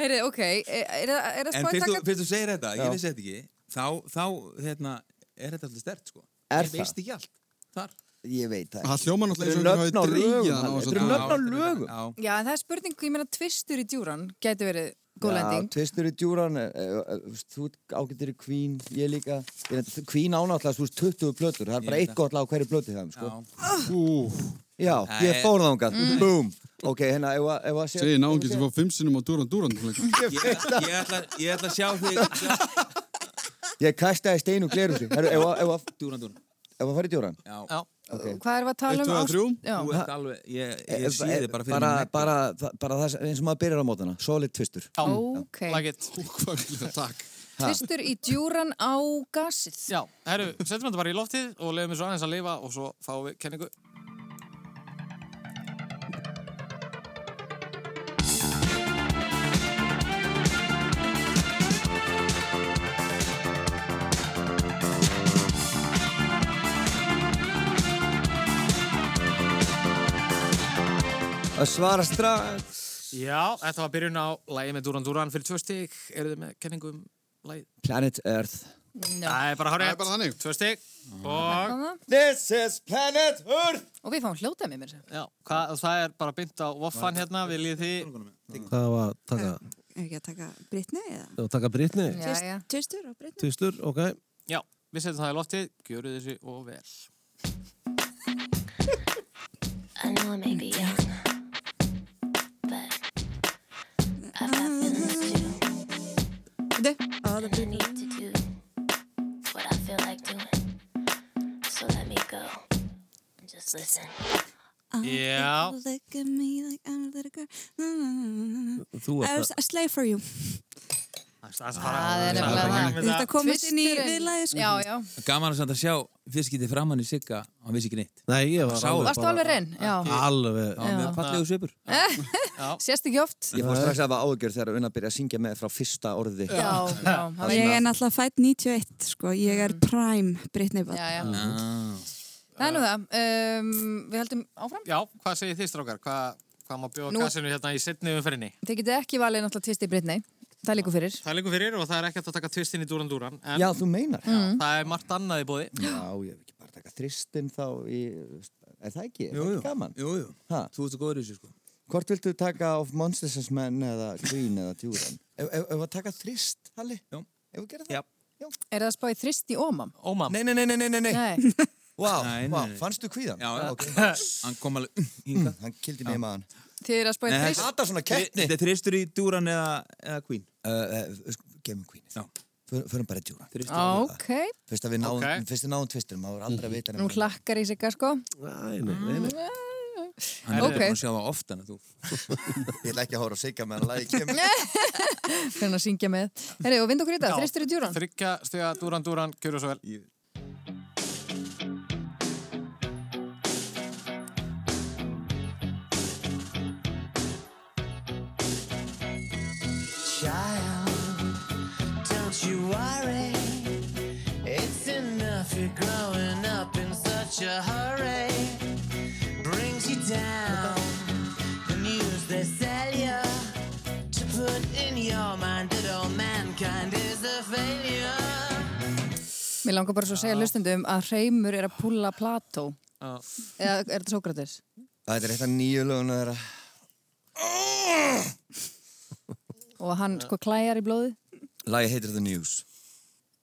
Speaker 2: Heyri, ok, er, er, er það
Speaker 4: En
Speaker 2: spáið
Speaker 4: fyrst þú,
Speaker 2: taka...
Speaker 4: fyrst þú segir þetta,
Speaker 5: Já.
Speaker 4: ég vissi þetta ekki, þá, þá hérna, er þetta alltaf stert, sko.
Speaker 5: Er
Speaker 4: Ég veist ekki allt. Þar.
Speaker 5: Ég veit það
Speaker 3: Það hljóma náttúrulega eins og
Speaker 5: Þetta eru
Speaker 3: einhver hafi
Speaker 5: nöfn á lögum,
Speaker 3: dreigja
Speaker 5: Halli.
Speaker 3: þannig
Speaker 5: Þetta eru
Speaker 3: að
Speaker 5: nöfn á lögum.
Speaker 4: Já,
Speaker 2: Já, en það er spurning, ég meina tvistur í djúran gæti verið góð
Speaker 5: Já,
Speaker 2: lending.
Speaker 5: tvistur í djúran eh, eh, eh, Þú ert ágættur í Queen, ég líka ég reyndar- Queen ánáttlega, þú veist, 20 plötur Það er bara
Speaker 4: Ég veit
Speaker 5: eitt gott lag á hverju plötu það sko.
Speaker 4: já.
Speaker 5: Já, ég
Speaker 4: Nei.
Speaker 5: fór þangað,
Speaker 2: Mm.
Speaker 5: boom Ok, hérna, ef að- ef að
Speaker 3: Segir náðum getur fá fimm sinnum á Dúran Dúran tónleika.
Speaker 4: Ég, ég, ætla, ég ætla að sjá þig sjá,
Speaker 5: Ég kastaði stein og glerum sig Herru, ef að- ef að-
Speaker 4: Dúran, Dúran
Speaker 5: ef að fara í djúran
Speaker 4: Já,
Speaker 1: Já,
Speaker 2: Hvað erum við að tala
Speaker 3: Eitt,
Speaker 2: um?
Speaker 3: tvö,
Speaker 2: ást-
Speaker 3: þrjú.
Speaker 2: Já,
Speaker 4: þú ert alveg Ég, ég sé
Speaker 5: Eh,
Speaker 4: þið bara fyrir
Speaker 5: bara,
Speaker 4: mér.
Speaker 5: bara, það- bara það sem- eins og maður byrjar á mótana Solid tvistur
Speaker 1: já,
Speaker 2: ok.
Speaker 1: lagið
Speaker 3: Hvað vil það takk?
Speaker 2: Tvistur í djúran á gasið.
Speaker 1: Já, herru, setjum þetta bara í loftið og leiðum við svo aðeins að lifa og svo fáum við kenningu
Speaker 5: Að svara strax
Speaker 1: Já, þetta var byrjun á lagið með Dúran Dúran fyrir tvö stig, eru þið með kenningu um lagið?
Speaker 5: Planet Earth
Speaker 1: Það er bara hárið
Speaker 3: Það er bara þannig.
Speaker 1: Tvö stig og
Speaker 2: Hvaða?
Speaker 5: This is Planet Earth
Speaker 2: Og við fáum hljótað með mér.
Speaker 1: já, hvað, það er bara bynd á voffan hérna, viljið þið
Speaker 6: Það var að taka,
Speaker 7: Er ekki að taka Brittany eða?
Speaker 6: að taka Britni,
Speaker 2: Já, já.
Speaker 7: Tvistur og Brittany?
Speaker 6: tvistur, ok.
Speaker 1: Já, við setjum það í loftið, gjöru þessu og vel
Speaker 11: I know I may be young, but I've got feelings too. All I need to do is what I feel like doing. So let me go. and Just listen.
Speaker 1: Já,
Speaker 7: Look at me like I'm a little girl. Na, na, na, na, na.
Speaker 6: Þú
Speaker 7: I
Speaker 6: ert
Speaker 7: was a slave for you.
Speaker 1: það
Speaker 2: er nefnilega það.
Speaker 7: Þú ert að komast inn í
Speaker 2: Tvisturinn.
Speaker 7: viðlæði
Speaker 2: Já,
Speaker 7: sko.
Speaker 2: já.
Speaker 4: Gaman samt að sjá fyrstskítið framann í Sigga Hann vissi ekki neitt
Speaker 6: Nei, ég var
Speaker 4: Sá
Speaker 6: alveg
Speaker 2: Varstu
Speaker 6: bara-
Speaker 2: alveg reyn? Já.
Speaker 6: Alveg.
Speaker 4: Já, með fallegu svipur
Speaker 2: Sérst ekki oft?
Speaker 5: Ég fór strax að hafa ágjör þegar unna byrja að syngja með frá fyrsta orði
Speaker 2: Já, já. það veit-
Speaker 7: Ég er náttúrulega fætt 91 sko. Ég er prime Brittany
Speaker 2: Já,
Speaker 7: Ball.
Speaker 2: já.
Speaker 4: Ah.
Speaker 2: Það er nú það. Um, við heldum áfram.
Speaker 1: Já, hvað segir þið strákar? Hvað, hvað má bjóða
Speaker 2: Nú-
Speaker 1: gassinu hérna í setni umferinni?
Speaker 2: Þið getið ekki valið náttúrulega tvist í Britney. Það líku fyrir.
Speaker 1: Það er líka fyrir og það er ekkert að taka tvistin í Dúran Dúran en
Speaker 5: Já, þú
Speaker 2: Mm.
Speaker 5: meinar
Speaker 1: það er margt annað í bóði
Speaker 5: Já, ég hef ekki bara taka þristinn þá í, er það ekki, er það ekki gaman?
Speaker 4: Jú, jú,
Speaker 5: Ha?
Speaker 4: þú ert svo góður í þessu sko
Speaker 5: Hvort viltu taka of Monsters as Men eða Green eða Djúran? Ef ef- ef að taka þrist, Halli?
Speaker 4: Já.
Speaker 5: Ef við gerum það?
Speaker 4: Já.
Speaker 2: Er það að spáði þrist í ómam?
Speaker 1: Ómam,
Speaker 5: Nei, nei, nei, nei, nei, nei, nei.
Speaker 2: Nei.
Speaker 5: Vá,
Speaker 4: Nei, nei,
Speaker 5: vá,
Speaker 4: nei.
Speaker 5: fannstu kvíðan?
Speaker 4: Já, já.
Speaker 5: ok.
Speaker 4: Hann kom alveg hingað
Speaker 5: Hann kildi mig maðan.
Speaker 2: Þið er að spáði
Speaker 4: Nei,
Speaker 2: þrist.
Speaker 5: Hata svona keppni.
Speaker 4: Þetta er þristur í Dúran eða, eða Queen
Speaker 5: Uh, uh, Gemum kvíni.
Speaker 4: Já.
Speaker 5: Fyr- Förum bara Djúran.
Speaker 4: Þristur
Speaker 2: Ah, Ok.
Speaker 5: Fyrst að við náum,
Speaker 1: Ok.
Speaker 5: fyrst að náum tvistum, maður aldrei að vita
Speaker 2: Nú
Speaker 5: nema-
Speaker 2: hlakkar í sig, sko.
Speaker 6: Nei, nei, nei, nei.
Speaker 4: Hann er
Speaker 2: Ok.
Speaker 4: búin að sjá það ofta en þú
Speaker 5: Ég ætla ekki að hóra og sigga meðan lagi kemur.
Speaker 2: Fyrir hann að syngja með. Herri, og vind okkur í þetta. Þristur í djúran.
Speaker 1: þryggja stiga Dúran Dúran, gjöru svo vel
Speaker 9: Don't you worry, it's enough. You're growing up in such a hurry. Brings you down. The news they sell you to put in your mind that all mankind is
Speaker 2: Mér langar bara svo að segja hlustendum að Hreimur er að púlla Plató.
Speaker 1: Já.
Speaker 2: Eða er þetta Sókrates?
Speaker 5: Þetta er eitt af nýju löguna þeirra.
Speaker 2: Og hann sko klæjar í blóði.
Speaker 5: Lagi heitir The News.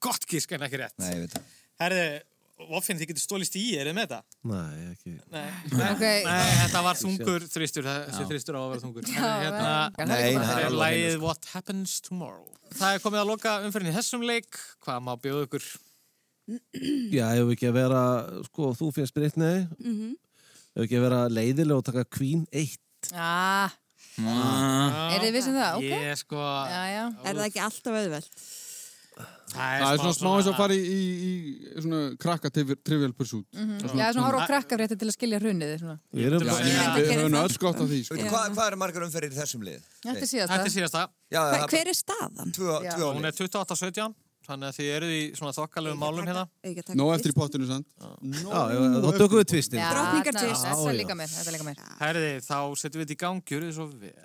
Speaker 1: Gott gísk en ekki rétt.
Speaker 5: Nei, ég veit það.
Speaker 1: Herði, Voffin, þið getur stólist í, er þið með þetta?
Speaker 6: Nei, ekki.
Speaker 1: Nei,
Speaker 2: Ok.
Speaker 1: nei, þetta var þungur þristur, þessi þristur á að vera þungur.
Speaker 2: Já,
Speaker 1: En
Speaker 2: vel.
Speaker 1: hérna,
Speaker 5: Nei, það
Speaker 1: þetta
Speaker 5: er
Speaker 1: er
Speaker 5: alveg
Speaker 1: lagið
Speaker 3: sko.
Speaker 5: heimil,
Speaker 1: What Happens Tomorrow. Það er komið að loka umfyrinni þessum leik, hvað má bjóða ykkur?
Speaker 6: Já, ef við ekki að vera, sko, þú fyrst Britney,
Speaker 2: Mhm.
Speaker 6: ef við ekki að vera leiðileg og taka Queen 1.
Speaker 2: Ah,
Speaker 3: Ah.
Speaker 2: er þið vissið það? Ok.
Speaker 1: Ég sko,
Speaker 2: Já, já.
Speaker 7: Er það ekki alltaf auðvelt?
Speaker 3: Það er svona smá eins og að fara í, í, í svona krakka trivial pursuit.
Speaker 2: Já, svona horf á krakkafrétti til að skilja hrunið. svona.
Speaker 6: Við erum
Speaker 1: Já,
Speaker 6: bara...
Speaker 1: ég-
Speaker 3: Við höfum öll gott af því, sko.
Speaker 5: Veitu, Hvað hva eru margar umferðir í þessum lið?
Speaker 2: Þetta er
Speaker 1: Þetta
Speaker 2: síðast
Speaker 1: er síðasta,
Speaker 5: Já,
Speaker 7: Hver,
Speaker 5: það er
Speaker 7: hver er staðan?
Speaker 5: tvö,
Speaker 2: Já.
Speaker 5: tvö
Speaker 1: hún
Speaker 5: álið.
Speaker 1: er 28-17, þannig að þið eruð í svona þokkalegum málum hérna.
Speaker 3: Nó eftir í pottinu, sant? Nó
Speaker 6: Já, já, þá tökum við tvistinn.
Speaker 2: það.
Speaker 7: Drottningar tvist.
Speaker 2: Þetta
Speaker 6: Já,
Speaker 2: er
Speaker 6: já.
Speaker 2: líka mér, þetta er líka mér.
Speaker 1: Herði, þá setjum við þetta í gang, gjörðu svo vel.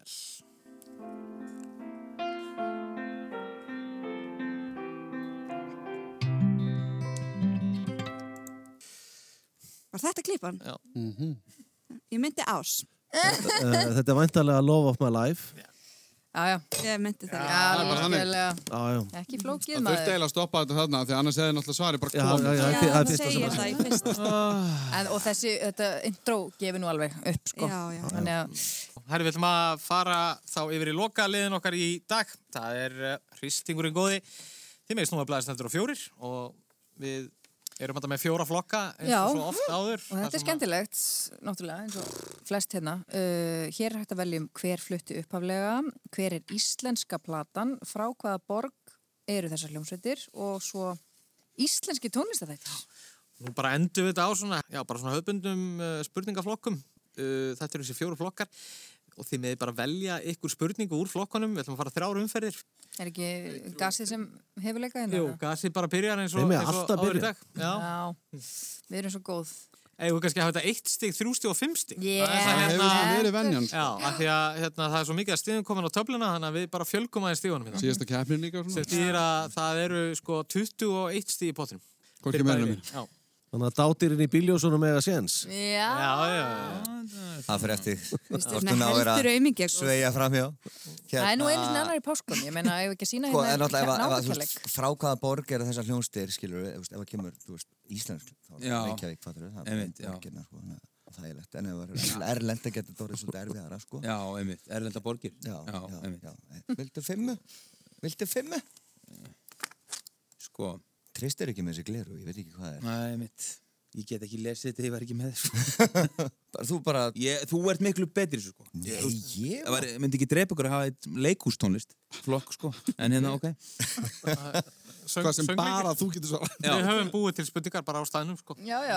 Speaker 7: Var þetta klipan?
Speaker 1: Já.
Speaker 7: Ég myndi ás.
Speaker 6: Eh, Þetta er væntalega Love of My Life.
Speaker 2: Já, já.
Speaker 7: Ég myndi það.
Speaker 2: Já,
Speaker 3: er bara þannig.
Speaker 2: algjörlega.
Speaker 6: Já, já.
Speaker 2: Ekki flókið
Speaker 3: Það þurfti
Speaker 2: maður.
Speaker 3: eiginlega að stoppa þetta þarna, því annars hefði náttúrulega svarið bara
Speaker 6: Já, já,
Speaker 3: komið.
Speaker 6: já,
Speaker 7: Já,
Speaker 6: það er
Speaker 7: það
Speaker 6: fyrsta sem
Speaker 7: segir það í fyrst.
Speaker 2: En, og þessi, þetta intro gefur nú alveg upp, sko.
Speaker 7: Já, já.
Speaker 2: Þannig að,
Speaker 1: Herri, við ætlum að fara þá yfir í loka liðin okkar í dag. Það er uh, hristingurinn góði. Þið meðist nú að blæðast hendur á fjórir og við erum þetta með fjóra flokka eins og
Speaker 2: Já.
Speaker 1: svo oft áður.
Speaker 2: og þetta
Speaker 1: Þar
Speaker 2: er
Speaker 1: sem að-
Speaker 2: skemmtilegt, náttúrulega, eins og flest hérna. Uh, hér er hægt að veljum hver flutti upphaflega, hver er íslenska platan, frá hvaða borg eru þessar hljómsveitir og svo íslenski tónlistatættir.
Speaker 1: Nú bara endum við þetta á svona, já, bara svona höfbundum uh, spurningaflokkum. Uh, þetta eru þessi fjóru flokkar og þið meði bara velja ykkur spurningu úr flokkunum. Við ætlum að fara þrjár umferðir.
Speaker 2: Er ekki gasið sem hefur leikað hérna?
Speaker 1: Jú, gasið bara byrjar eins og,
Speaker 6: Þeim er
Speaker 1: eins og
Speaker 6: alltaf
Speaker 1: áður
Speaker 6: byrja.
Speaker 1: í dag. Já.
Speaker 2: Já, við erum svo góð.
Speaker 1: Eða kannski að hafa þetta eitt stig, þrjú stig og fimm stig.
Speaker 2: Yeah.
Speaker 1: Það er það
Speaker 3: Það
Speaker 1: hérna-
Speaker 3: hefur verið venjan. sko.
Speaker 1: Já, af því að hérna, það er svo mikið að stíðum komin á töfluna þannig að við bara fjölgum aðeins stíðunum hérna.
Speaker 3: Síðasta keppnin líka og
Speaker 1: sem
Speaker 3: svona.
Speaker 1: þýðir að það eru sko 21 stíð í pottinum.
Speaker 3: Hvorki
Speaker 1: Fyrir
Speaker 3: meira
Speaker 1: bæði
Speaker 3: né
Speaker 1: lið. Já,
Speaker 6: Þannig að dátirinn í bíljósunum eiga séns.
Speaker 2: Já,
Speaker 1: já, já, já.
Speaker 5: Það fyrir eftir.
Speaker 7: Þetta er
Speaker 5: Hvort hún á
Speaker 7: svona
Speaker 5: að vera-
Speaker 7: heldur aumingi. sko.
Speaker 5: Sveja framhjá.
Speaker 2: það er nú einu sinni
Speaker 5: Hérna-
Speaker 2: annar í páskum, ég meina, ef við ekki að sína
Speaker 5: Sko, en
Speaker 2: hérna
Speaker 5: náttúrulega, ef, að- ef, að, þú
Speaker 2: náttúrkjærleik.
Speaker 5: veist, frá hvaða borg eru þessar hljónstir, skilur við, ef það kemur, þú veist, Íslensk, þá er
Speaker 4: Já.
Speaker 5: Reykjavík, fattur við, það er
Speaker 4: Einmitt, já.
Speaker 5: borginna, sko, þannig að það er lett, en ef það er erlenda getur það orðið svolítið erfiðara, sko.
Speaker 4: Já, einmitt, erlenda borgir
Speaker 5: já, já,
Speaker 4: einmitt.
Speaker 5: já. Vildu fimmu? Vildu fimmu?
Speaker 4: Sko,
Speaker 5: Trist er ekki með þessi gleru, ég veit ekki hvað það er.
Speaker 4: næ, einmitt Ég get ekki lesið þetta, ég var ekki með sko.
Speaker 5: Bara, þú bara,
Speaker 4: ég, Þú ert miklu betri, sko
Speaker 5: nei,
Speaker 4: Ég,
Speaker 5: ég,
Speaker 4: Það var, myndi ekki drepa ykkur að hafa eitt leikústónlist Flokk, sko, en hérna, ok
Speaker 1: Söng,
Speaker 3: Hvað sem
Speaker 1: söngleikir.
Speaker 3: bara þú getur svarað.
Speaker 1: Við höfum búið til spurningar bara á staðnum sko.
Speaker 2: Já, já,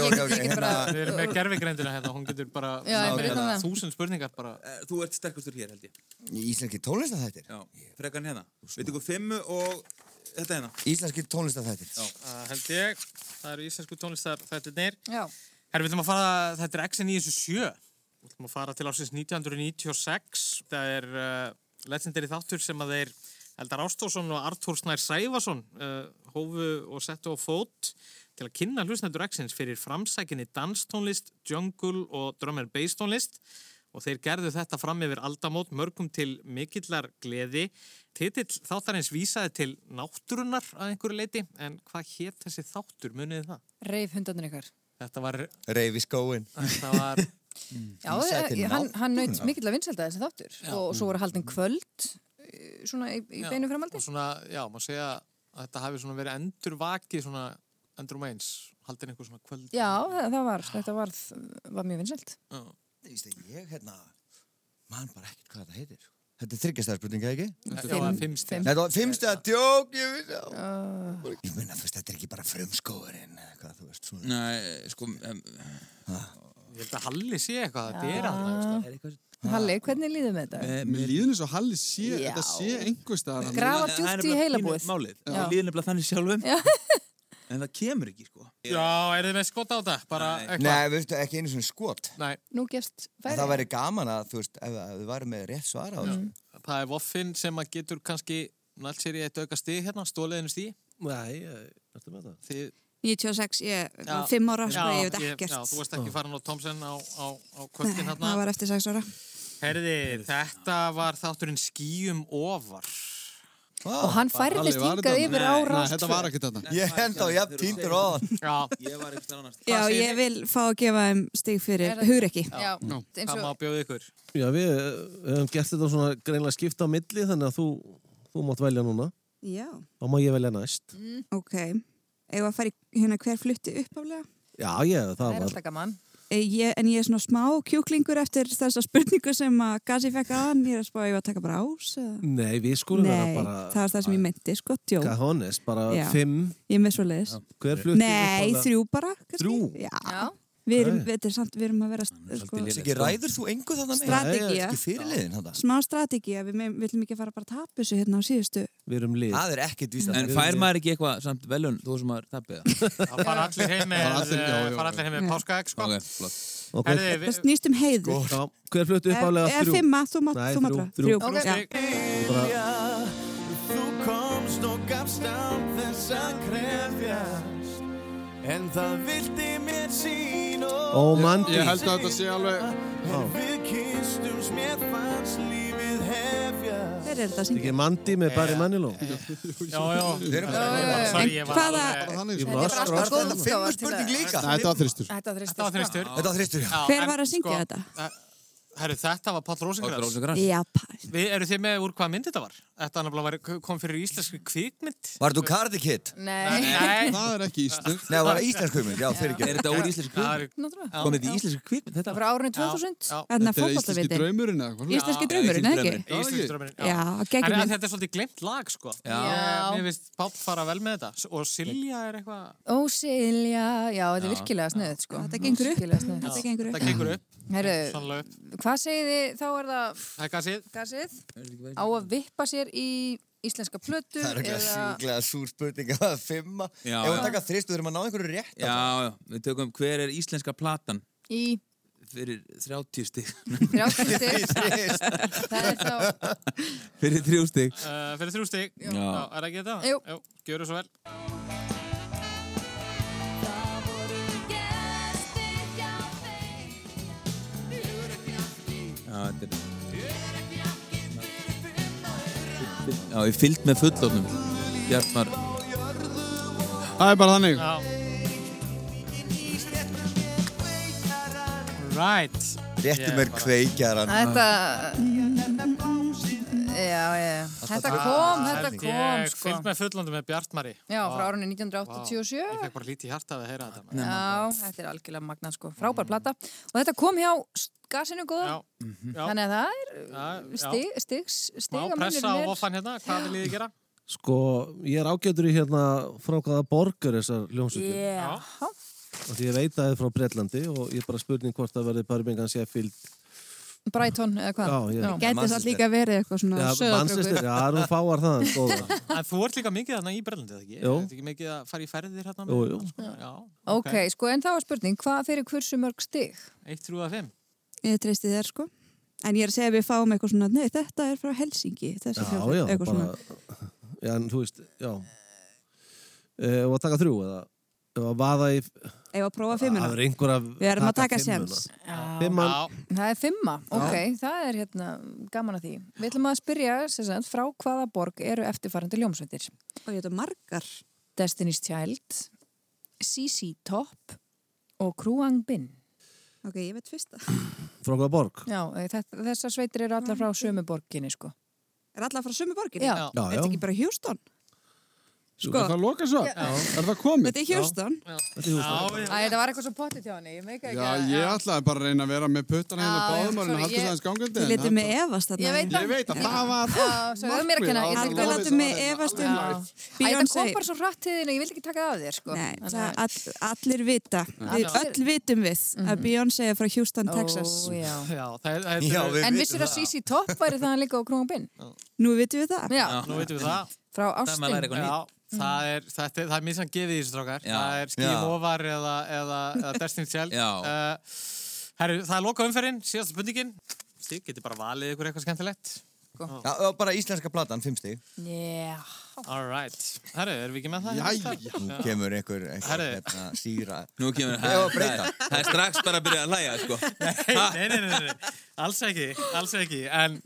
Speaker 2: ég,
Speaker 5: ok, hérna- ok,
Speaker 2: ég get bara...
Speaker 1: Við erum með gerfigreindina hérna, hún getur bara
Speaker 2: Já, ég
Speaker 1: náð
Speaker 2: fyrir
Speaker 1: hérna
Speaker 2: það.
Speaker 1: þúsund spurningar bara.
Speaker 4: Eh, Þú ert sterkustur hér, held ég
Speaker 5: íslenski tónlistatættir.
Speaker 4: Já, frekan hérna Við tökum fimmu og þetta hérna
Speaker 5: Íslenski tónlistatættir.
Speaker 1: Það held ég, það eru íslensku tónlistar þetta neyr.
Speaker 2: Já,
Speaker 1: Herri, við ætlum að fara, þetta er X-97. Við ætlum að fara til ásins 1996. Það er uh, legendary þáttur sem að þeir Eldar Ástórsson og Artur Snær Sæfason uh, hófu og settu á fót til að kynna hlusnendur X-ins fyrir framsækinni danstónlist, jungle og drum and bass tónlist og þeir gerðu þetta fram yfir aldamót mörgum til mikillar gleði. Titill þáttarins vísaði til náttúrunar að einhverju leiti, en hvað hétt þessi þáttur, munið þið það?
Speaker 2: reif hundarnir ykkar.
Speaker 1: Þetta var
Speaker 5: Reyfi skóin.
Speaker 1: Það var,
Speaker 2: Já,
Speaker 5: Ísæti
Speaker 2: eh, hann,
Speaker 5: náttúruna.
Speaker 2: hann naut mikill að vinselda þessi þáttur og svo voru
Speaker 5: Mm.
Speaker 2: haldin kvöld eh, svona í, í beinu
Speaker 1: og
Speaker 2: framaldi.
Speaker 1: svona, já, maður segja að þetta hafi svona verið endur vakið svona endur um eins, haldin einhver svona kvöld.
Speaker 2: Já, það það var, þetta var, var mjög vinseld.
Speaker 5: Ég veist að ég, hérna, man bara ekkert hvað þetta heitir. sko. Þetta er þryggjastæðar spurninga, ekki?
Speaker 1: Já, það var fimmst.
Speaker 5: Þetta var fimmstu að djók, ég vissi á. Ég meina, þú veist, þetta er ekki bara frumskóðurinn eða hvað, þú veist, svona.
Speaker 4: Nei, sko, um,
Speaker 1: Ég held að Halli sé eitthvað, þetta er alltaf.
Speaker 4: er eitthvað
Speaker 2: Halli, hvernig líðum við
Speaker 5: Eh,
Speaker 2: þetta?
Speaker 3: Mér líður eins og Halli sé,
Speaker 2: Já.
Speaker 3: þetta sé einhverstaðar. hann.
Speaker 2: Grafa
Speaker 4: Það er
Speaker 2: djúpt í
Speaker 4: nefnilega
Speaker 2: heilabúið.
Speaker 4: pínu Málið,
Speaker 2: Já.
Speaker 4: ég líður nefnilega þannig sjálfum En það kemur ekki, sko
Speaker 1: Já, er þið með skot á þetta? Bara eitthvað?
Speaker 5: Nei, við veistu, ekki einu svona skot.
Speaker 1: Nei.
Speaker 2: Nú gefst
Speaker 5: En
Speaker 2: færi.
Speaker 5: það væri gaman að, þú veist, ef ef við varum með rétt svar á þessu.
Speaker 1: Það er voffin sem að getur kannski nátt sér í eitt auka stig hérna, stóliðinu stig
Speaker 6: Nei, ertu með það?
Speaker 1: Þið...
Speaker 7: 96, ég var fimm ára, sko, ég veit
Speaker 1: Já,
Speaker 7: ekkert.
Speaker 1: þú varst ekki farin á Thompson á, á, á
Speaker 7: Nei,
Speaker 1: kvöldin
Speaker 7: það
Speaker 1: hérna.
Speaker 7: var eftir sex ára.
Speaker 1: Herði, þetta var þátturinn skýjum ofar.
Speaker 2: Og hann færðist hingað yfir á Rás 2.
Speaker 5: Ég henda á jafn tíndur á hann.
Speaker 1: Já.
Speaker 4: Ég var eitthvað annars.
Speaker 7: Já, ég vil fá að gefa þeim stig fyrir hugrekki.
Speaker 2: Já, eins
Speaker 1: Hvað má
Speaker 2: og
Speaker 1: bjóða ykkur?
Speaker 6: Já, við eh, höfum gert þetta svona greinlega skipta á milli þannig að þú, þú mátt velja núna.
Speaker 7: Já,
Speaker 6: Þá má ég velja næst.
Speaker 7: ok. Ef að fara í hérna hver flutti uppaflega?
Speaker 6: Já, ég, það
Speaker 2: það er
Speaker 6: var...
Speaker 2: alltaf gaman.
Speaker 7: Eh, Ég, en ég er svona smá kjúklingur eftir þessa spurningu sem að Gazi fekk aðan. Ég er að spá að ég var að taka bara ás. eða-
Speaker 6: Nei, við skulum
Speaker 7: Nei,
Speaker 6: vera bara...
Speaker 7: það var það sem ég myndi, sko, djó.
Speaker 6: Cajones, bara
Speaker 7: Já.
Speaker 6: fimm.
Speaker 7: Ég er með svo leiðis.
Speaker 6: Hver flutti?
Speaker 7: Nei,
Speaker 6: upphaflega?
Speaker 7: þrjú bara. kannski.
Speaker 6: Þrjú?
Speaker 7: Já.
Speaker 2: Já.
Speaker 7: Við erum,
Speaker 6: Nei.
Speaker 7: þetta er samt, við erum að vera sko,
Speaker 4: lélegt.
Speaker 5: Siggi, ræður þú engu þarna með?
Speaker 7: strategía,
Speaker 5: Ekki fyrirliðin þetta.
Speaker 7: smá strategía, við megum- viljum ekki fara bara að tapa þessu hérna á síðustu.
Speaker 6: Við erum lið.
Speaker 5: Það er ekkit víst
Speaker 4: En fær maður ekki eitthvað samt velun þú sem maður tappið það?
Speaker 1: Það fara allir heim með,
Speaker 3: Fara allir, já, já, já.
Speaker 1: far allir heim með páskaegg, sko.
Speaker 4: Ok, flott.
Speaker 6: Ok.
Speaker 1: Herði,
Speaker 7: Það
Speaker 1: við...
Speaker 7: snýst um heiðu.
Speaker 6: Já, hver fluttu uppálega
Speaker 7: Eða
Speaker 6: þrjú?
Speaker 7: fimma, þú mátt
Speaker 6: Nei,
Speaker 7: þú mátt
Speaker 6: þrjú,
Speaker 7: draga.
Speaker 6: þrjú.
Speaker 7: Þrjú,
Speaker 1: Þrjú
Speaker 7: já.
Speaker 1: stig.
Speaker 6: Bara,
Speaker 9: Þú komst og gafst án þess að krefjast En það vildi mér sín og
Speaker 6: Ó, mandi.
Speaker 3: Ég held að þetta sé alveg...
Speaker 9: En við kynstumst mér fannst lífið hefjast
Speaker 7: Hver er þetta að syngja?
Speaker 6: Ekki mandi með Barry Manilow.
Speaker 1: Já, já.
Speaker 7: En
Speaker 1: Sorry, ég var
Speaker 7: hvaða-
Speaker 1: alveg-
Speaker 3: Þannig,
Speaker 6: Ég
Speaker 3: sko.
Speaker 6: bara
Speaker 2: Þetta var
Speaker 6: öskra.
Speaker 2: alltaf góð
Speaker 5: Þetta fimmur spurning líka.
Speaker 3: Nei, þetta var þristur.
Speaker 2: Þetta var
Speaker 1: Þetta var
Speaker 2: þristur.
Speaker 1: þristur.
Speaker 5: Þetta var þristur, já.
Speaker 1: Já,
Speaker 7: Hver
Speaker 1: en
Speaker 7: var að syngja þetta?
Speaker 1: eh, Herru, þetta var Páll
Speaker 4: Áttur
Speaker 1: Rósengræs.
Speaker 4: Rósakræs.
Speaker 7: Já, pæl.
Speaker 1: Við eru þið með úr hvað mynd þetta var? Þetta nefnilega var- kom fyrir íslenski kvikmynd.
Speaker 5: Var þú Cardi Kid?
Speaker 2: Nei,
Speaker 1: Nei,
Speaker 3: Það er ekki íslensk.
Speaker 5: Nei, það var íslensku mynd, já, fyrirgefðu.
Speaker 4: Er þetta úr íslensk
Speaker 1: það
Speaker 4: kvikmynd?
Speaker 1: er
Speaker 2: náttúrulega.
Speaker 4: Komið þetta í íslensk kvikmynd? Þetta
Speaker 2: Það
Speaker 4: var
Speaker 2: var árið
Speaker 1: Já,
Speaker 2: 2000.
Speaker 1: já.
Speaker 7: Þannig að
Speaker 3: Þetta er íslenski
Speaker 7: fótballtavitin.
Speaker 3: draumurinn eða eitthvað.
Speaker 7: Íslenski
Speaker 4: Já,
Speaker 7: draumurinn, eða
Speaker 4: íslenski
Speaker 7: ekki?
Speaker 1: Íslenski draumurinn,
Speaker 7: Já,
Speaker 1: En
Speaker 7: geggjum
Speaker 1: en
Speaker 7: við.
Speaker 1: þetta er svolítið glemt lag, sko.
Speaker 4: Já.
Speaker 1: Ég- Mér finnst Páll fara vel með þetta. S- Og Silja er eitthvað...
Speaker 2: Ó, Silja, já, þetta er virkilega snöðt, sko. Þetta gengur upp. Virkilega snöðt.
Speaker 7: Þetta gengur
Speaker 1: Það
Speaker 7: upp.
Speaker 1: gengur upp,
Speaker 2: Herru,
Speaker 1: sannlega upp.
Speaker 2: hvað segið þið, þá er það
Speaker 1: Það er gassið.
Speaker 2: gasið á að vippa sér í íslenska plötu
Speaker 5: Það er eitthvað sjúklega súr spurning að það er fimma.
Speaker 4: Já, já.
Speaker 5: Ef við taka þrist, við erum að ná einhverju rétt.
Speaker 4: Já, já, við tökum hver er íslenska platan
Speaker 2: í
Speaker 4: fyrir 30 stig,
Speaker 2: 30 stig. Það er þá,
Speaker 4: fyrir 3 stig.
Speaker 1: Uh, fyrir þrjú stig. Já. Er það ekki þetta?
Speaker 2: Jú.
Speaker 1: Gjöru svo vel.
Speaker 4: Já, þetta er... Já, ég fyllt með fullofnum. Bjartmar,
Speaker 3: Það er bara þannig.
Speaker 1: Já. Right.
Speaker 5: Réttum er kveikjaran.
Speaker 2: þetta, já, já, þetta kom, þetta kom,
Speaker 1: Ah, Ég
Speaker 2: sko.
Speaker 1: fylgd með fullandum með Bjartmari.
Speaker 2: Já, frá
Speaker 1: Vá.
Speaker 2: árunni
Speaker 1: Ég
Speaker 2: 1987.
Speaker 1: fekk bara lítið hjarta að heyra þetta. maður.
Speaker 2: Já, þetta er algjörlega magnað, sko. Frábær plata. Og þetta kom hjá gasinu góða.
Speaker 1: Já. Já.
Speaker 2: Mhm. Þannig að það er
Speaker 1: Já, já.
Speaker 2: stig, stig,
Speaker 1: Má
Speaker 2: stig
Speaker 1: pressa á voffan hérna. Hvað viljið þið gera?
Speaker 6: Sko, ég er ágætur í hérna frákaða borgar þessar ljónsökjum.
Speaker 2: Já,
Speaker 6: Og því ég veit að það er frá Bretlandi og ég er bara spurning hvort það verði Barry Bingham Sheffield.
Speaker 2: Brighton eða hvað.
Speaker 6: Já, já.
Speaker 7: Gæti það
Speaker 5: Manchester.
Speaker 7: líka verið
Speaker 6: Já,
Speaker 7: eitthvað svona
Speaker 6: Manchester,
Speaker 7: söðabrökur.
Speaker 6: já, það eru fáar það, sko. góða.
Speaker 1: En þú ert líka mikið þarna í Berlandi, eða ekki?
Speaker 6: Jú.
Speaker 1: Þetta ekki mikið að fara í ferðir hérna?
Speaker 6: Jú, jú.
Speaker 1: Já.
Speaker 2: Ok, sko, en þá er spurning, hvað fyrir hversu mörg stig?
Speaker 1: Eitt, þrjú að fimm.
Speaker 7: Ég treysti þér, sko. En ég er að segja að við fáum eitthvað svona, nei, þetta er frá Helsingi, þessi
Speaker 6: Já,
Speaker 7: hljómsveit,
Speaker 6: já,
Speaker 7: eitthvað
Speaker 6: bara...
Speaker 7: svona.
Speaker 6: Já, en þú veist, já. Eh, Og að taka þrjú, eða? Ef að vaða í...
Speaker 7: Ef að prófa
Speaker 6: Það
Speaker 7: fimmuna.
Speaker 6: er einhver að
Speaker 7: Við erum að taka
Speaker 6: fimmuna.
Speaker 7: séns.
Speaker 6: Fimman,
Speaker 1: Já.
Speaker 2: Það er fimma, ok, það er hérna gaman að því. Við ætlum að spyrja, sem sagt, frá hvaða borg eru eftirfarandi ljómsveitir?
Speaker 7: Og ég þetta margar.
Speaker 2: Destiny's Child, CC Top og Kruang Bin.
Speaker 7: Ok, ég veit fyrsta.
Speaker 6: frá hvaða borg?
Speaker 2: Já, eh, þetta, þessar sveitir eru allar frá sömu borginni, sko.
Speaker 7: Er allar frá sömu borginni?
Speaker 2: Já,
Speaker 6: Já, já,
Speaker 7: Er þetta ekki bara Houston? Sko,
Speaker 3: Er það loka svo? Er það komið?
Speaker 7: þetta er Houston.
Speaker 6: þetta er húsnæði.
Speaker 1: Já,
Speaker 2: Æ, þetta var eitthvað svo pottið hjá henni, ég meika ekki
Speaker 3: Já,
Speaker 2: að...
Speaker 3: ég ætlaði bara að reyna að vera með puttana hérna
Speaker 2: Já,
Speaker 3: báðum og reyna að
Speaker 2: sorry,
Speaker 3: halda
Speaker 2: ég-
Speaker 3: þess aðeins gangandi.
Speaker 7: Þið
Speaker 3: en
Speaker 7: letið
Speaker 3: það-
Speaker 7: mig efast að
Speaker 2: Ég veit
Speaker 3: Ég veit að það var
Speaker 2: Já, svo hefur mér að kenna, ég ætla ekki
Speaker 7: Aldrei
Speaker 2: að
Speaker 7: látið mig efast um
Speaker 2: Já. Æ, þetta
Speaker 7: Beyoncé.
Speaker 2: kom bara svo hratt til þín og ég vildi ekki taka það af þér, sko.
Speaker 7: Nei,
Speaker 2: Þannig
Speaker 7: það
Speaker 2: að-
Speaker 7: all, allir vita. Mhm. Við öll vitum við að Beyoncé er frá Houston, Texas.
Speaker 2: Ó, já.
Speaker 1: já, það, það,
Speaker 5: Já, við
Speaker 2: En
Speaker 5: vitum
Speaker 2: vissur að
Speaker 5: það.
Speaker 2: CC Top væri það líka á Krungabinn?
Speaker 7: Nú vitum við það.
Speaker 2: Já,
Speaker 1: Nú veitum við það.
Speaker 2: frá
Speaker 4: það er maður að læra
Speaker 2: Ástin.
Speaker 4: eitthvað nýtt.
Speaker 1: Já, það er, þetta, er- það er mjög sann gefið í þessu strákar.
Speaker 4: Já.
Speaker 1: Það er skýjum
Speaker 5: Já.
Speaker 1: ofar eða, eða, eða Destiny's Child.
Speaker 4: Já.
Speaker 1: Uh, herru, það er loka umferinn, síðasta spurningin. Þið getur bara valið ykkur eitthvað skemmtilegt.
Speaker 5: Já, og bara íslenska platan, fimm stig.
Speaker 2: Já,
Speaker 1: All right. Herru, erum við ekki með
Speaker 2: um-
Speaker 1: það?
Speaker 5: Jæja. Nú kemur einhver, einhver
Speaker 1: Herri.
Speaker 5: hérna, síra
Speaker 4: Nú kemur
Speaker 5: Ég var að breyta.
Speaker 4: það er strax bara að byrja að læja sko.
Speaker 1: nei, nei, nei, nei, alls ekki, alls ekki, en,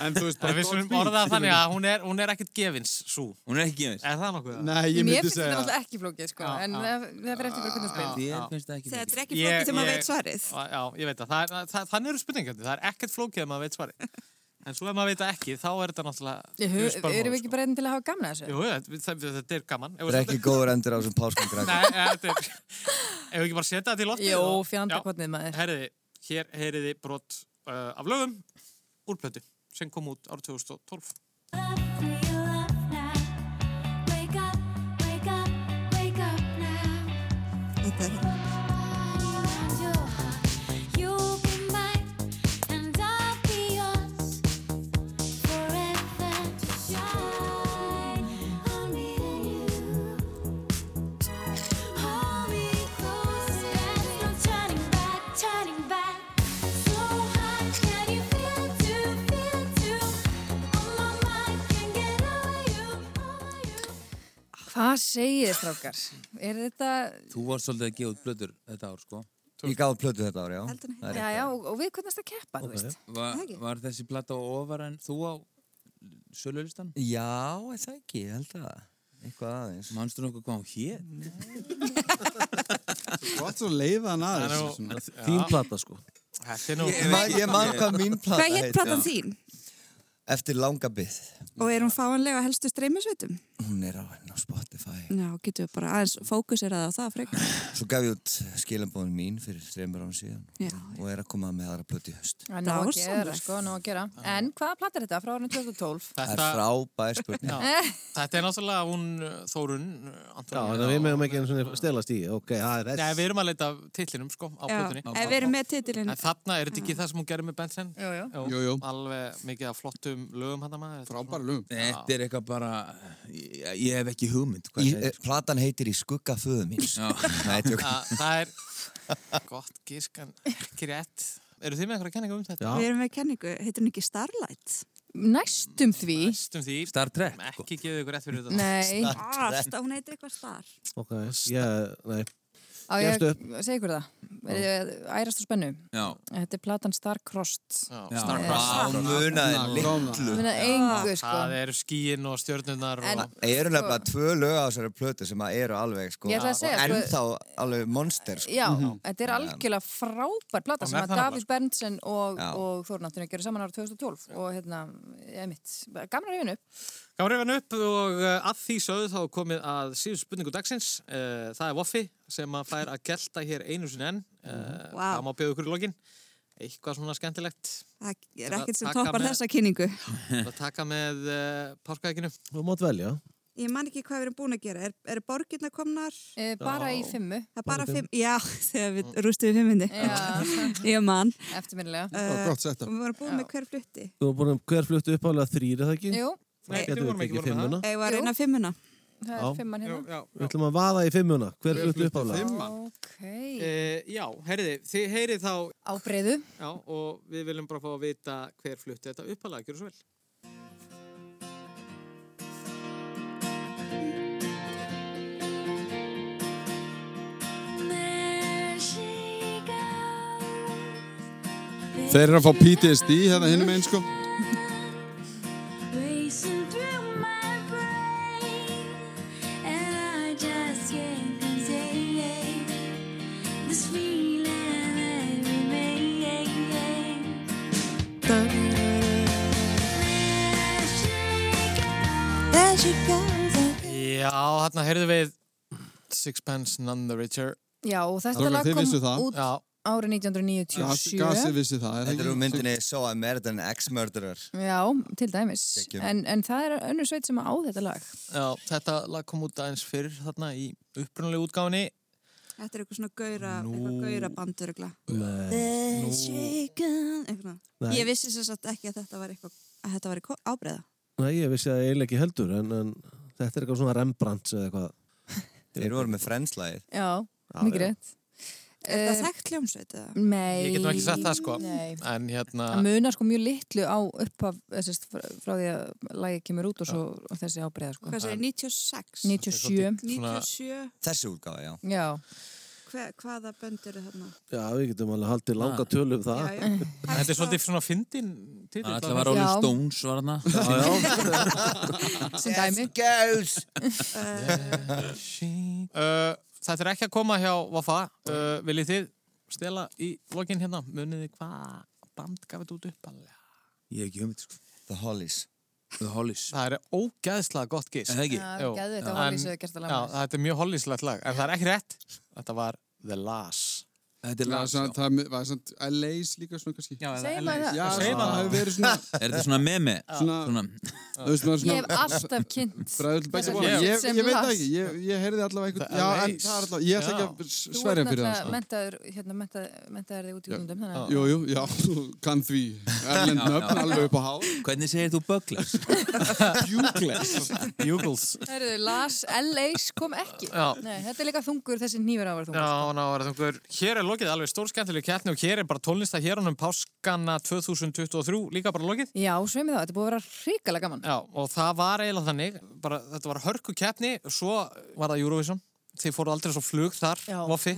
Speaker 3: En þú veist
Speaker 1: en við sem orðaða þannig að hún er, hún er ekkit gefins, svo.
Speaker 4: Hún er ekki gefins.
Speaker 1: Er það nokkuð?
Speaker 3: Nei, ég
Speaker 2: Mér
Speaker 3: myndi
Speaker 2: finnst þetta
Speaker 3: segja
Speaker 2: náttúrulega ekki flókið, sko,
Speaker 1: Já,
Speaker 2: en
Speaker 1: já.
Speaker 2: það það fer eftir bara hvernig þú spil.
Speaker 4: Þér finnst það ekki
Speaker 7: Þetta er ekki
Speaker 1: Ég-
Speaker 7: flókið sem að
Speaker 1: ég-
Speaker 7: veit svarið.
Speaker 1: Já, já, ég veit að það, er- það, þannig eru spurningandi, það er ekkert flókið ef maður veit svarið. En svo ef maður veit það ekki, þá er þetta náttúrulega...
Speaker 2: Erum við ekki bara einn til að hafa gamna þessu?
Speaker 1: sko. Jú, þetta- þetta þetta er gaman. Ef
Speaker 5: Það er ekki góður endur á þessum páskum
Speaker 1: Nei,
Speaker 5: krakkar.
Speaker 1: eh, þetta er... Ef við ekki bara setja þetta í loftið...
Speaker 2: Jó,
Speaker 1: og-
Speaker 2: fjandakotnið maður.
Speaker 1: Herriði, hér heyriði brot uh, af lögum úr plötu sem kom út árið 2012.
Speaker 11: Turning back, so hot, can you feel too, feel too? On my mind, can't get over you, over you.
Speaker 2: Hvað segir þið, strákar? Er þetta...
Speaker 4: Þú var svolítið að gefa út blöður þetta ár sko.
Speaker 5: Ég gaf plötu þetta ár, já.
Speaker 7: Heldur en
Speaker 5: Það er
Speaker 2: Já,
Speaker 5: rétt.
Speaker 2: já, og, og við hvernig það keppa, þú veist.
Speaker 4: Va,
Speaker 2: Það ekki.
Speaker 4: var þessi platta ofar en þú á sölulistan?
Speaker 5: Já, er það ekki, ég held að. Eitthvað aðeins.
Speaker 4: Manstu nokkuð hvað hún hér?
Speaker 3: Þú átt svo að leiða hann
Speaker 1: Það er
Speaker 3: aðeins
Speaker 1: nú-
Speaker 3: þessum.
Speaker 6: Þín plata, sko.
Speaker 1: Þetta er nú...
Speaker 5: Ég man, ég man hvað mín plata
Speaker 7: Hvað hétt platan þín?
Speaker 5: Eftir langa byggð.
Speaker 7: Og er hún fáanlega á helstu streymisveitum?
Speaker 5: Hún er á henn á Spotify.
Speaker 7: Já, getum við bara aðeins fókuseraði á það frekar.
Speaker 5: Svo gaf ég út skilabóðin mín fyrir þreymur án síðan.
Speaker 7: Já.
Speaker 5: Og er að koma með aðra plötu í höst.
Speaker 2: Það er ná að
Speaker 7: Dásamlegt.
Speaker 2: gera, sko, ná að gera. En hvaða platt er þetta frá árinu 2012?
Speaker 5: Það er
Speaker 1: Þetta,
Speaker 5: frábær spurning.
Speaker 1: þetta er náttúrulega hún uh, Þórun
Speaker 6: Já, þannig að við meðum ekki einu svona stelast í. Ok, það er
Speaker 1: Nei,
Speaker 6: þess.
Speaker 1: við erum að leita tillinum sko á
Speaker 7: Já,
Speaker 1: plötunni.
Speaker 7: ef við erum með titilinn.
Speaker 1: En þarna er þetta ekki
Speaker 2: Mm.
Speaker 1: það sem hún gerir með Benson?
Speaker 2: Jú, jú.
Speaker 3: Jú, jú.
Speaker 1: Alveg mikið af flottum lögum hann maður. Þetta er
Speaker 3: Frábæra lögum.
Speaker 4: Þetta er eitthvað bara, ég, ég hef ekki hugmynd hvað
Speaker 5: Í,
Speaker 4: þetta
Speaker 5: eh,
Speaker 4: er.
Speaker 5: platan heitir Í skugga föðu míns.
Speaker 4: Já.
Speaker 5: Nei, tjók.
Speaker 1: svona- Þa- Það er gott gískan, ekki rétt. Eru þið með eitthvað kenninga um þetta?
Speaker 7: Við erum með kenningu, heitir hún ekki Starlight?
Speaker 2: Næstum því.
Speaker 1: Stum því,
Speaker 4: Star Trek sko.
Speaker 1: ekki gefið ykkur rétt fyrir þetta.
Speaker 2: Nei.
Speaker 7: Ah, sta- hún heitir eitthvað Star.
Speaker 6: Ok, ég, nei.
Speaker 2: Á ég
Speaker 6: Gefstu
Speaker 2: að
Speaker 6: upp.
Speaker 2: segja ykkur það. Er ég ærast og spennu?
Speaker 4: Já,
Speaker 2: Þetta er platan Star Crossed.
Speaker 1: Já,
Speaker 4: Já.
Speaker 1: Starcross.
Speaker 5: Á munaði
Speaker 3: Grána.
Speaker 2: Ég meina engu, sko.
Speaker 1: Það eru skíin og stjörnurnar
Speaker 2: En-
Speaker 1: og...
Speaker 5: Það eru nefnilega tvö lög á þessari plötu sem að eru alveg sko,
Speaker 2: Ég ætla að segja, sko-
Speaker 5: ennþá alveg monster sko.
Speaker 2: Já,
Speaker 6: Mhm.
Speaker 2: þetta er algjörlega frábær plata
Speaker 1: Hún
Speaker 2: sem
Speaker 1: er
Speaker 2: að
Speaker 1: það nefnilega,
Speaker 2: Davíð Berndsen og,
Speaker 5: Já.
Speaker 2: og Þórnáttunni gerur saman ára 2012 og hérna, ég mitt, gamla reyfinu
Speaker 1: Gáum reyfan upp og uh, að því sögðu þá er komið að síðan spurningu dagsins. Uh, það er Voffi sem að fær að gelta hér einu sinni enn. Uh,
Speaker 7: Vá.
Speaker 1: Það má bjóða ykkur í lokin. Eitthvað svona skemmtilegt
Speaker 7: Það
Speaker 1: Til
Speaker 7: er
Speaker 1: að
Speaker 7: ekkert sem
Speaker 1: taka
Speaker 7: toppar
Speaker 1: með-
Speaker 7: þessa kynningu.
Speaker 1: að taka með uh, páskaækinu.
Speaker 6: Þú mátt velja.
Speaker 7: Ég man ekki hvað við erum búin að gera. Er, er borgirna komnar?
Speaker 2: e, bara í fimmu
Speaker 7: Það er bara fimm. Já, þegar við rústum við fimmundi.
Speaker 2: Já.
Speaker 7: Ég man.
Speaker 2: eftirminnilega
Speaker 3: Það var
Speaker 7: Uh,
Speaker 3: gott sett
Speaker 7: við vorum búin með hver flutti.
Speaker 6: Þú var búin að hver fluttu uppálega þrýri, það ekki?
Speaker 2: Jú,
Speaker 1: Nei,
Speaker 6: Getum
Speaker 1: við vorum
Speaker 6: við
Speaker 1: ekki
Speaker 6: tekið
Speaker 1: vorum með
Speaker 6: fimmuna?
Speaker 7: Ég var
Speaker 2: Jú.
Speaker 7: reyna hérna? fimmuna.
Speaker 2: það
Speaker 6: Já.
Speaker 2: er fimmann hérna
Speaker 1: Já,
Speaker 6: Við ætlum að vaða í fimmuna. Hver fluttu uppálega?
Speaker 3: Fimman.
Speaker 2: Ok,
Speaker 1: Uh, já, herriði, þið heyrið þá
Speaker 2: á breyðu
Speaker 1: já, og við viljum bara fá að vita hver flutti þetta uppalega, gjör svo vel.
Speaker 3: Þeir eru að fá PTSD hérna hinum einn sko.
Speaker 11: Racing through my brain, and I just can't contain this feeling that remains.
Speaker 1: Já, hérna heyrðu við Sixpence None the Richer.
Speaker 2: Já, og þetta
Speaker 3: Strákar,
Speaker 2: lag
Speaker 3: þið
Speaker 2: kom
Speaker 3: vissuð það?
Speaker 2: út
Speaker 1: Já,
Speaker 2: árið
Speaker 3: Gas- Gasi
Speaker 2: 1997
Speaker 3: vissi það. er það
Speaker 5: Þetta eru
Speaker 3: ekki?
Speaker 5: myndinni So American Ex-Murderer.
Speaker 2: Já, til dæmis
Speaker 5: Geggjum.
Speaker 2: en, en það er önnur sveit sem á þetta lag
Speaker 1: já, þetta lag kom út aðeins fyrir þarna í upprunalegu útgáfinni.
Speaker 7: Þetta er eitthvað svona gauðra, eitthvað gauðra bandur.
Speaker 6: Nei.
Speaker 7: Ég vissi sem sagt ekki að þetta var eitthvað, að þetta var eitthvað ábreyða.
Speaker 6: Nei, ég vissi það eiginlega ekki heldur, en, en þetta er eitthvað svona Rembrandts eða eitthvað.
Speaker 5: Þeir voru með frenslæðið.
Speaker 2: Já, mikið rétt Eh,
Speaker 7: Er það þekkt hljómsveit eða?
Speaker 2: Nei.
Speaker 1: Ég get nú ekki sagt það sko
Speaker 2: Nei.
Speaker 1: En hérna
Speaker 2: Það munar sko mjög litlu á uppaf, þessist, frá því að lagið kemur út og svo þessi ábreiða sko.
Speaker 7: Hvað segir, 96?
Speaker 2: 97.
Speaker 7: 97?
Speaker 5: Þessi útgáfa, já.
Speaker 2: Já.
Speaker 7: Hve, hvaða bönd eru þarna?
Speaker 6: Já, við getum alveg haldið langa tölu um það.
Speaker 7: Já, já.
Speaker 1: Þetta er svolítið svona fyndin titill.
Speaker 4: Alltaf var Rolling Stones var hana
Speaker 2: Sem dæmi.
Speaker 5: Girls!
Speaker 1: Uh, þetta er ekki að koma hjá Vafa. Uh, viljið þið stela í lokin hérna? Munið þið hvað band gaf þetta út uppalega?
Speaker 4: Ég hef ekki hugmynd sko
Speaker 5: The Hollies.
Speaker 4: The Hollies
Speaker 1: Það er ógæðslega gott gist.
Speaker 4: Er það ekki?
Speaker 2: Já,
Speaker 1: Jú.
Speaker 2: geðveikt að
Speaker 1: En-
Speaker 2: Hollies hefðu gert það lag með
Speaker 1: Já,
Speaker 2: þessu.
Speaker 1: þetta er mjög hollíslegt lag. En það er ekki rétt. Þetta var The Lass.
Speaker 4: Þetta er
Speaker 3: Já,
Speaker 4: lag sko.
Speaker 3: svona, það var samt LA's líka svona kannski. Já,
Speaker 2: Segir maður það?
Speaker 3: það
Speaker 1: Segir maður það?
Speaker 3: hefur verið svona,
Speaker 4: Er þetta svona meme?
Speaker 3: svona,
Speaker 4: Svona,
Speaker 3: þú veist maður
Speaker 2: Ég hef
Speaker 3: svona,
Speaker 2: alltaf kynnt.
Speaker 3: bræðul bækja
Speaker 2: Þessar
Speaker 3: bóla.
Speaker 2: hljóð
Speaker 3: Ég,
Speaker 2: sem
Speaker 3: ég veit
Speaker 2: las.
Speaker 3: það ekki, ég, ég heyrði
Speaker 1: The
Speaker 3: allavega einhvern, já, en
Speaker 1: LA's.
Speaker 3: það er allavega, ég ætla ekki að
Speaker 2: Þú
Speaker 3: sverja
Speaker 2: ert
Speaker 3: fyrir það,
Speaker 2: náttúrulega
Speaker 3: sko.
Speaker 2: mentaður, hérna, mentaður, mentaður þig út í útlöndum, þannig að
Speaker 3: Jú, jú, já, þú kann því erlend nöfn alveg upp á há.
Speaker 4: hvernig segir þú Bögglas?
Speaker 1: Bugles. Bugles.
Speaker 2: Herðu, Las L.A.s kom ekki.
Speaker 1: Já.
Speaker 2: Nei, þetta er líka þungur, þessi nýfur ávar þungur.
Speaker 1: Já, ná, er það einhver, hér er lokið alveg stórskemmtileg keppni og hér er bara tónlista hér honum páskana 2023 líka bara lokið.
Speaker 2: Já, sveimi þá, þetta er búið að vera hrikalega gaman.
Speaker 1: Já, og það var eiginlega þannig, bara, þetta var hörku keppni, svo var það Eurovision, þið fóru aldrei svo flug þar,
Speaker 2: Já.
Speaker 1: Voffi,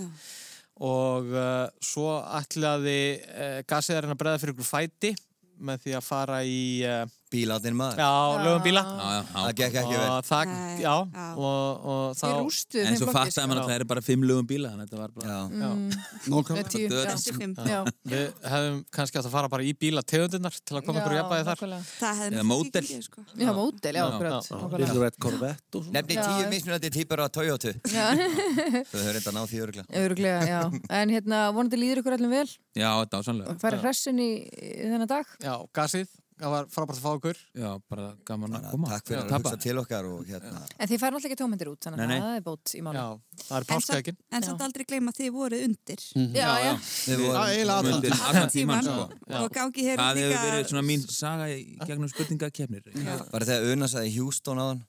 Speaker 1: og uh, svo ætlaði uh, gasið að reyna að breða fyrir ykkur fæti með því að fara í, uh,
Speaker 5: Bíláttinn maður.
Speaker 1: já, lögum bíla.
Speaker 4: Já, já,
Speaker 5: Það
Speaker 4: já
Speaker 5: gekk ekki vel.
Speaker 1: Og það,
Speaker 7: Nei,
Speaker 1: já,
Speaker 7: já.
Speaker 1: og, og þá...
Speaker 2: Þið rústuðu
Speaker 4: En
Speaker 2: þeim
Speaker 4: svo
Speaker 2: flokki,
Speaker 4: fattaði
Speaker 2: sko.
Speaker 4: maður að það er bara fimm lögum bíla Þannig að þetta var bara
Speaker 5: Já.
Speaker 2: Með
Speaker 3: Nákvæmlega.
Speaker 2: tíu,
Speaker 4: Þetta
Speaker 2: já.
Speaker 4: er-
Speaker 7: Þessi fimm.
Speaker 2: Já.
Speaker 1: Við hefum kannski átt að fara bara í bíla tegundunar til að koma
Speaker 2: Já,
Speaker 1: ykkur í jafnvægi þar.
Speaker 2: nákvæmlega.
Speaker 7: Það hefði
Speaker 4: Eða
Speaker 7: mér
Speaker 4: módel.
Speaker 7: þykir ég, sko.
Speaker 2: Já, mótel, já,
Speaker 4: Já,
Speaker 2: akkurat.
Speaker 1: já.
Speaker 2: nákvæmlega.
Speaker 6: Little Red Corvette og svona.
Speaker 5: Nefni
Speaker 2: Já,
Speaker 5: tíu
Speaker 2: já.
Speaker 5: mismunandi típar á Toyota. Þau höfðu reynda að ná því öruglega.
Speaker 2: Öruglega, já. En hérna, vonandi líður ykkur allum vel
Speaker 4: Já, þetta var sannlega
Speaker 2: og færi hressin í, í þennan dag.
Speaker 1: Já, gasið, það var frábært að fá ykkur.
Speaker 4: Já, bara gaman að koma
Speaker 5: Takk fyrir
Speaker 4: Já,
Speaker 5: að
Speaker 4: tapa.
Speaker 5: hugsa til okkar og hérna.
Speaker 2: En þið færi alltaf ekki tómyndir út, þannig
Speaker 4: Nei,
Speaker 2: að
Speaker 4: nei.
Speaker 2: það er bót í mánu.
Speaker 1: Já, það er
Speaker 7: En samt-
Speaker 1: páskaekinn.
Speaker 7: En samt aldrei gleyma að þið voruð undir.
Speaker 2: já, já.
Speaker 5: Við vorum-
Speaker 3: eiginlega allan
Speaker 4: Mundir Mm. allan tíman sko
Speaker 7: Og gangi hér
Speaker 4: Það hefur
Speaker 7: líka
Speaker 4: verið svona mín saga í gegnum spurningakefnir
Speaker 5: Bara þegar Una sagði Hjústón á hann,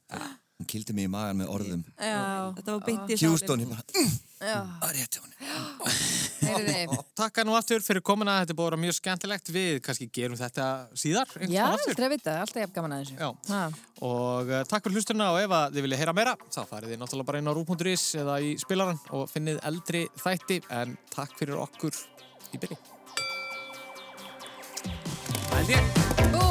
Speaker 5: hún kildi mig í magan með orðum.
Speaker 2: Já,
Speaker 7: Þetta var beint í
Speaker 5: Hjústón, ég bara,
Speaker 2: já.
Speaker 5: að rétt hjá henni.
Speaker 2: Heyriði,
Speaker 1: Takk að nú aftur fyrir komuna, þetta er búið að vera mjög skemmtilegt við kannski gerum þetta síðar einhvern
Speaker 2: já,
Speaker 1: tímann
Speaker 2: það er að vita, alltaf jafn gaman að þessu.
Speaker 1: Já.
Speaker 2: Ha.
Speaker 1: og uh, takk fyrir hlustuna og ef að þið viljið heyra meira þá farið þið náttúrulega bara inn á rúf.is eða í spilaran og finnið eldri þætti en takk fyrir okkur í byrji Það held ég
Speaker 2: Bú!